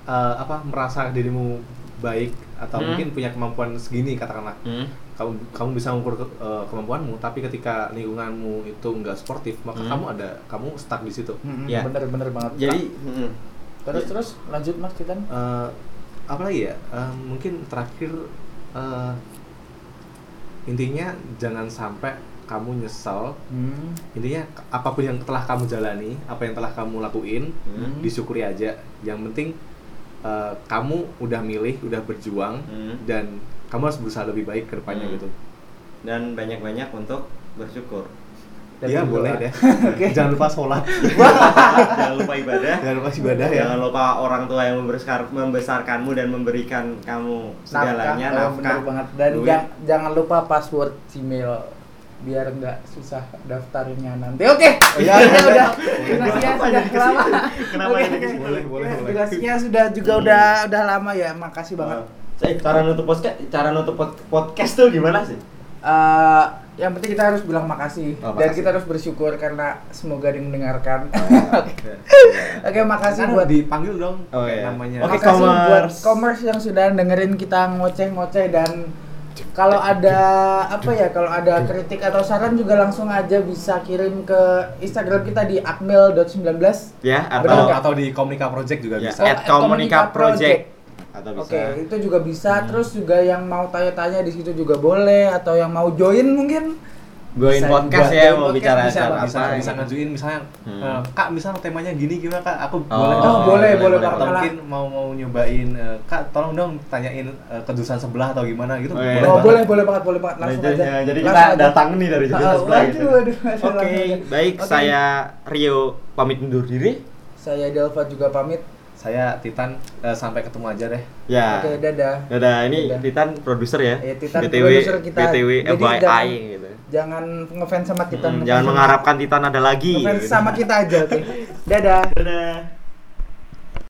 [SPEAKER 3] eh, apa merasa dirimu baik atau
[SPEAKER 1] Hmm.
[SPEAKER 3] mungkin punya kemampuan segini katakanlah
[SPEAKER 1] Hmm.
[SPEAKER 3] kamu kamu bisa mengukur ke- eh, kemampuanmu tapi ketika lingkunganmu itu nggak sportif maka
[SPEAKER 1] Hmm.
[SPEAKER 3] kamu ada kamu stuck di situ
[SPEAKER 2] Hmm,
[SPEAKER 1] Ya.
[SPEAKER 2] Bener bener banget.
[SPEAKER 1] Jadi mm,
[SPEAKER 2] terus terus lanjut Mas Titan.
[SPEAKER 3] Eh, apa lagi ya Eh, mungkin terakhir eh, intinya jangan sampai kamu nyesel
[SPEAKER 2] Hmm.
[SPEAKER 3] intinya apapun yang telah kamu jalani apa yang telah kamu lakuin
[SPEAKER 1] Hmm.
[SPEAKER 3] disyukuri aja yang penting eh, kamu udah milih udah berjuang
[SPEAKER 1] Hmm.
[SPEAKER 3] dan kamu harus berusaha lebih baik ke depannya
[SPEAKER 1] Hmm.
[SPEAKER 3] gitu
[SPEAKER 1] dan banyak-banyak untuk
[SPEAKER 2] <laughs>
[SPEAKER 1] bersyukur.
[SPEAKER 2] Dan
[SPEAKER 3] iya
[SPEAKER 2] berdoa.
[SPEAKER 3] boleh
[SPEAKER 1] <laughs>
[SPEAKER 3] deh jangan lupa sholat
[SPEAKER 1] jangan lupa ibadah.
[SPEAKER 3] jangan lupa ibadah
[SPEAKER 2] Iya.
[SPEAKER 3] ya
[SPEAKER 1] Jangan lupa orang tua yang membesar, membesarkanmu dan memberikan kamu segalanya
[SPEAKER 2] Nafkah, oh,
[SPEAKER 1] nafkah.
[SPEAKER 2] bener banget dan
[SPEAKER 1] duit. Oh,
[SPEAKER 2] jang- jangan lupa password Gmail biar nggak susah daftarnya nanti. Oke.
[SPEAKER 1] Oh,
[SPEAKER 2] <laughs>
[SPEAKER 3] iya,
[SPEAKER 2] Kayaknya
[SPEAKER 3] iya.
[SPEAKER 2] udah.
[SPEAKER 1] Kenapa
[SPEAKER 2] Durasinya sudah
[SPEAKER 3] Boleh,
[SPEAKER 1] jadi ke situ?
[SPEAKER 2] lama.
[SPEAKER 1] Kenapa
[SPEAKER 2] Oke,
[SPEAKER 1] jadi ke
[SPEAKER 2] oke.
[SPEAKER 1] situ?
[SPEAKER 3] boleh boleh boleh
[SPEAKER 2] Durasinya sudah juga udah udah lama ya. Makasih banget.
[SPEAKER 1] Eh, cara nutup podcast, cara nutup pod- podcast tuh gimana
[SPEAKER 2] <laughs>
[SPEAKER 1] sih?
[SPEAKER 2] Eh, yang penting kita harus bilang makasih
[SPEAKER 1] Oh,
[SPEAKER 2] dan
[SPEAKER 1] makasih.
[SPEAKER 2] kita harus bersyukur karena semoga ada yang mendengarkan.
[SPEAKER 3] Ya.
[SPEAKER 2] <laughs> Oke, makasih
[SPEAKER 3] Ntar
[SPEAKER 2] buat
[SPEAKER 3] Kan dipanggil dong
[SPEAKER 1] Oh,
[SPEAKER 3] kayak
[SPEAKER 1] iya.
[SPEAKER 3] namanya
[SPEAKER 1] Oke,
[SPEAKER 2] Makasih buat
[SPEAKER 1] commerce.
[SPEAKER 2] commerce yang sudah dengerin kita ngoceh-ngoceh dan kalau ada apa ya kalau ada kritik atau saran juga langsung aja bisa kirim ke Instagram kita di akmil.19
[SPEAKER 1] Ya,
[SPEAKER 3] atau,
[SPEAKER 2] Bener.
[SPEAKER 1] atau
[SPEAKER 3] atau di Komunika Project juga
[SPEAKER 1] ya,
[SPEAKER 3] bisa
[SPEAKER 2] Oh,
[SPEAKER 1] at Komunika
[SPEAKER 2] Komunika Project.
[SPEAKER 1] Project. Atau
[SPEAKER 2] Oke,
[SPEAKER 1] bisa Hmm.
[SPEAKER 2] itu juga bisa. Terus juga yang mau tanya-tanya di situ juga boleh atau yang mau join mungkin
[SPEAKER 1] Goin
[SPEAKER 2] Bisa
[SPEAKER 1] podcast ya
[SPEAKER 2] juga. Join
[SPEAKER 1] mau
[SPEAKER 2] podcast
[SPEAKER 1] bicara
[SPEAKER 2] bisa,
[SPEAKER 1] acara
[SPEAKER 2] Pak.
[SPEAKER 3] bisa
[SPEAKER 1] apa.
[SPEAKER 3] bisa ngajuin misalnya
[SPEAKER 1] Hmm.
[SPEAKER 3] eh, kak misal temanya gini gimana kak aku
[SPEAKER 1] Oh,
[SPEAKER 3] boleh
[SPEAKER 2] Oh,
[SPEAKER 3] dong?"
[SPEAKER 2] boleh,
[SPEAKER 1] boleh,
[SPEAKER 2] boleh,
[SPEAKER 1] boleh.
[SPEAKER 3] atau
[SPEAKER 2] Pak.
[SPEAKER 3] mungkin mau mau nyobain eh, kak tolong dong tanyain eh, ke jurusan sebelah atau gimana gitu
[SPEAKER 1] Oh, iya.
[SPEAKER 2] Oh,
[SPEAKER 3] banget.
[SPEAKER 2] boleh, boleh banget, boleh banget. Langsung
[SPEAKER 1] Jadi-
[SPEAKER 2] aja.
[SPEAKER 1] Nah, jadi kita
[SPEAKER 2] Langsung aja.
[SPEAKER 1] datang nih dari
[SPEAKER 2] Ah,
[SPEAKER 1] jam sebelah gitu.
[SPEAKER 2] waduh, waduh, waduh,
[SPEAKER 1] Oke,
[SPEAKER 2] langsung aja.
[SPEAKER 1] baik
[SPEAKER 2] Oke.
[SPEAKER 1] saya Rio pamit undur diri.
[SPEAKER 2] saya Delva juga pamit.
[SPEAKER 3] saya Titan eh, sampai ketemu aja deh
[SPEAKER 1] Ya.
[SPEAKER 2] Oke, dadah.
[SPEAKER 1] Dadah, ini
[SPEAKER 2] Dadah.
[SPEAKER 1] Titan produser ya.
[SPEAKER 2] Iya, Titan
[SPEAKER 1] BTW,
[SPEAKER 2] produser kita.
[SPEAKER 1] BTW
[SPEAKER 2] Jadi
[SPEAKER 1] FYI
[SPEAKER 2] jangan-
[SPEAKER 1] gitu.
[SPEAKER 2] Jangan ngefans sama kita.
[SPEAKER 1] Hmm, jangan mengharapkan Titan ada lagi.
[SPEAKER 2] Ngefans
[SPEAKER 1] gitu. <laughs>
[SPEAKER 2] sama kita aja, oke. Dadah.
[SPEAKER 1] Dadah.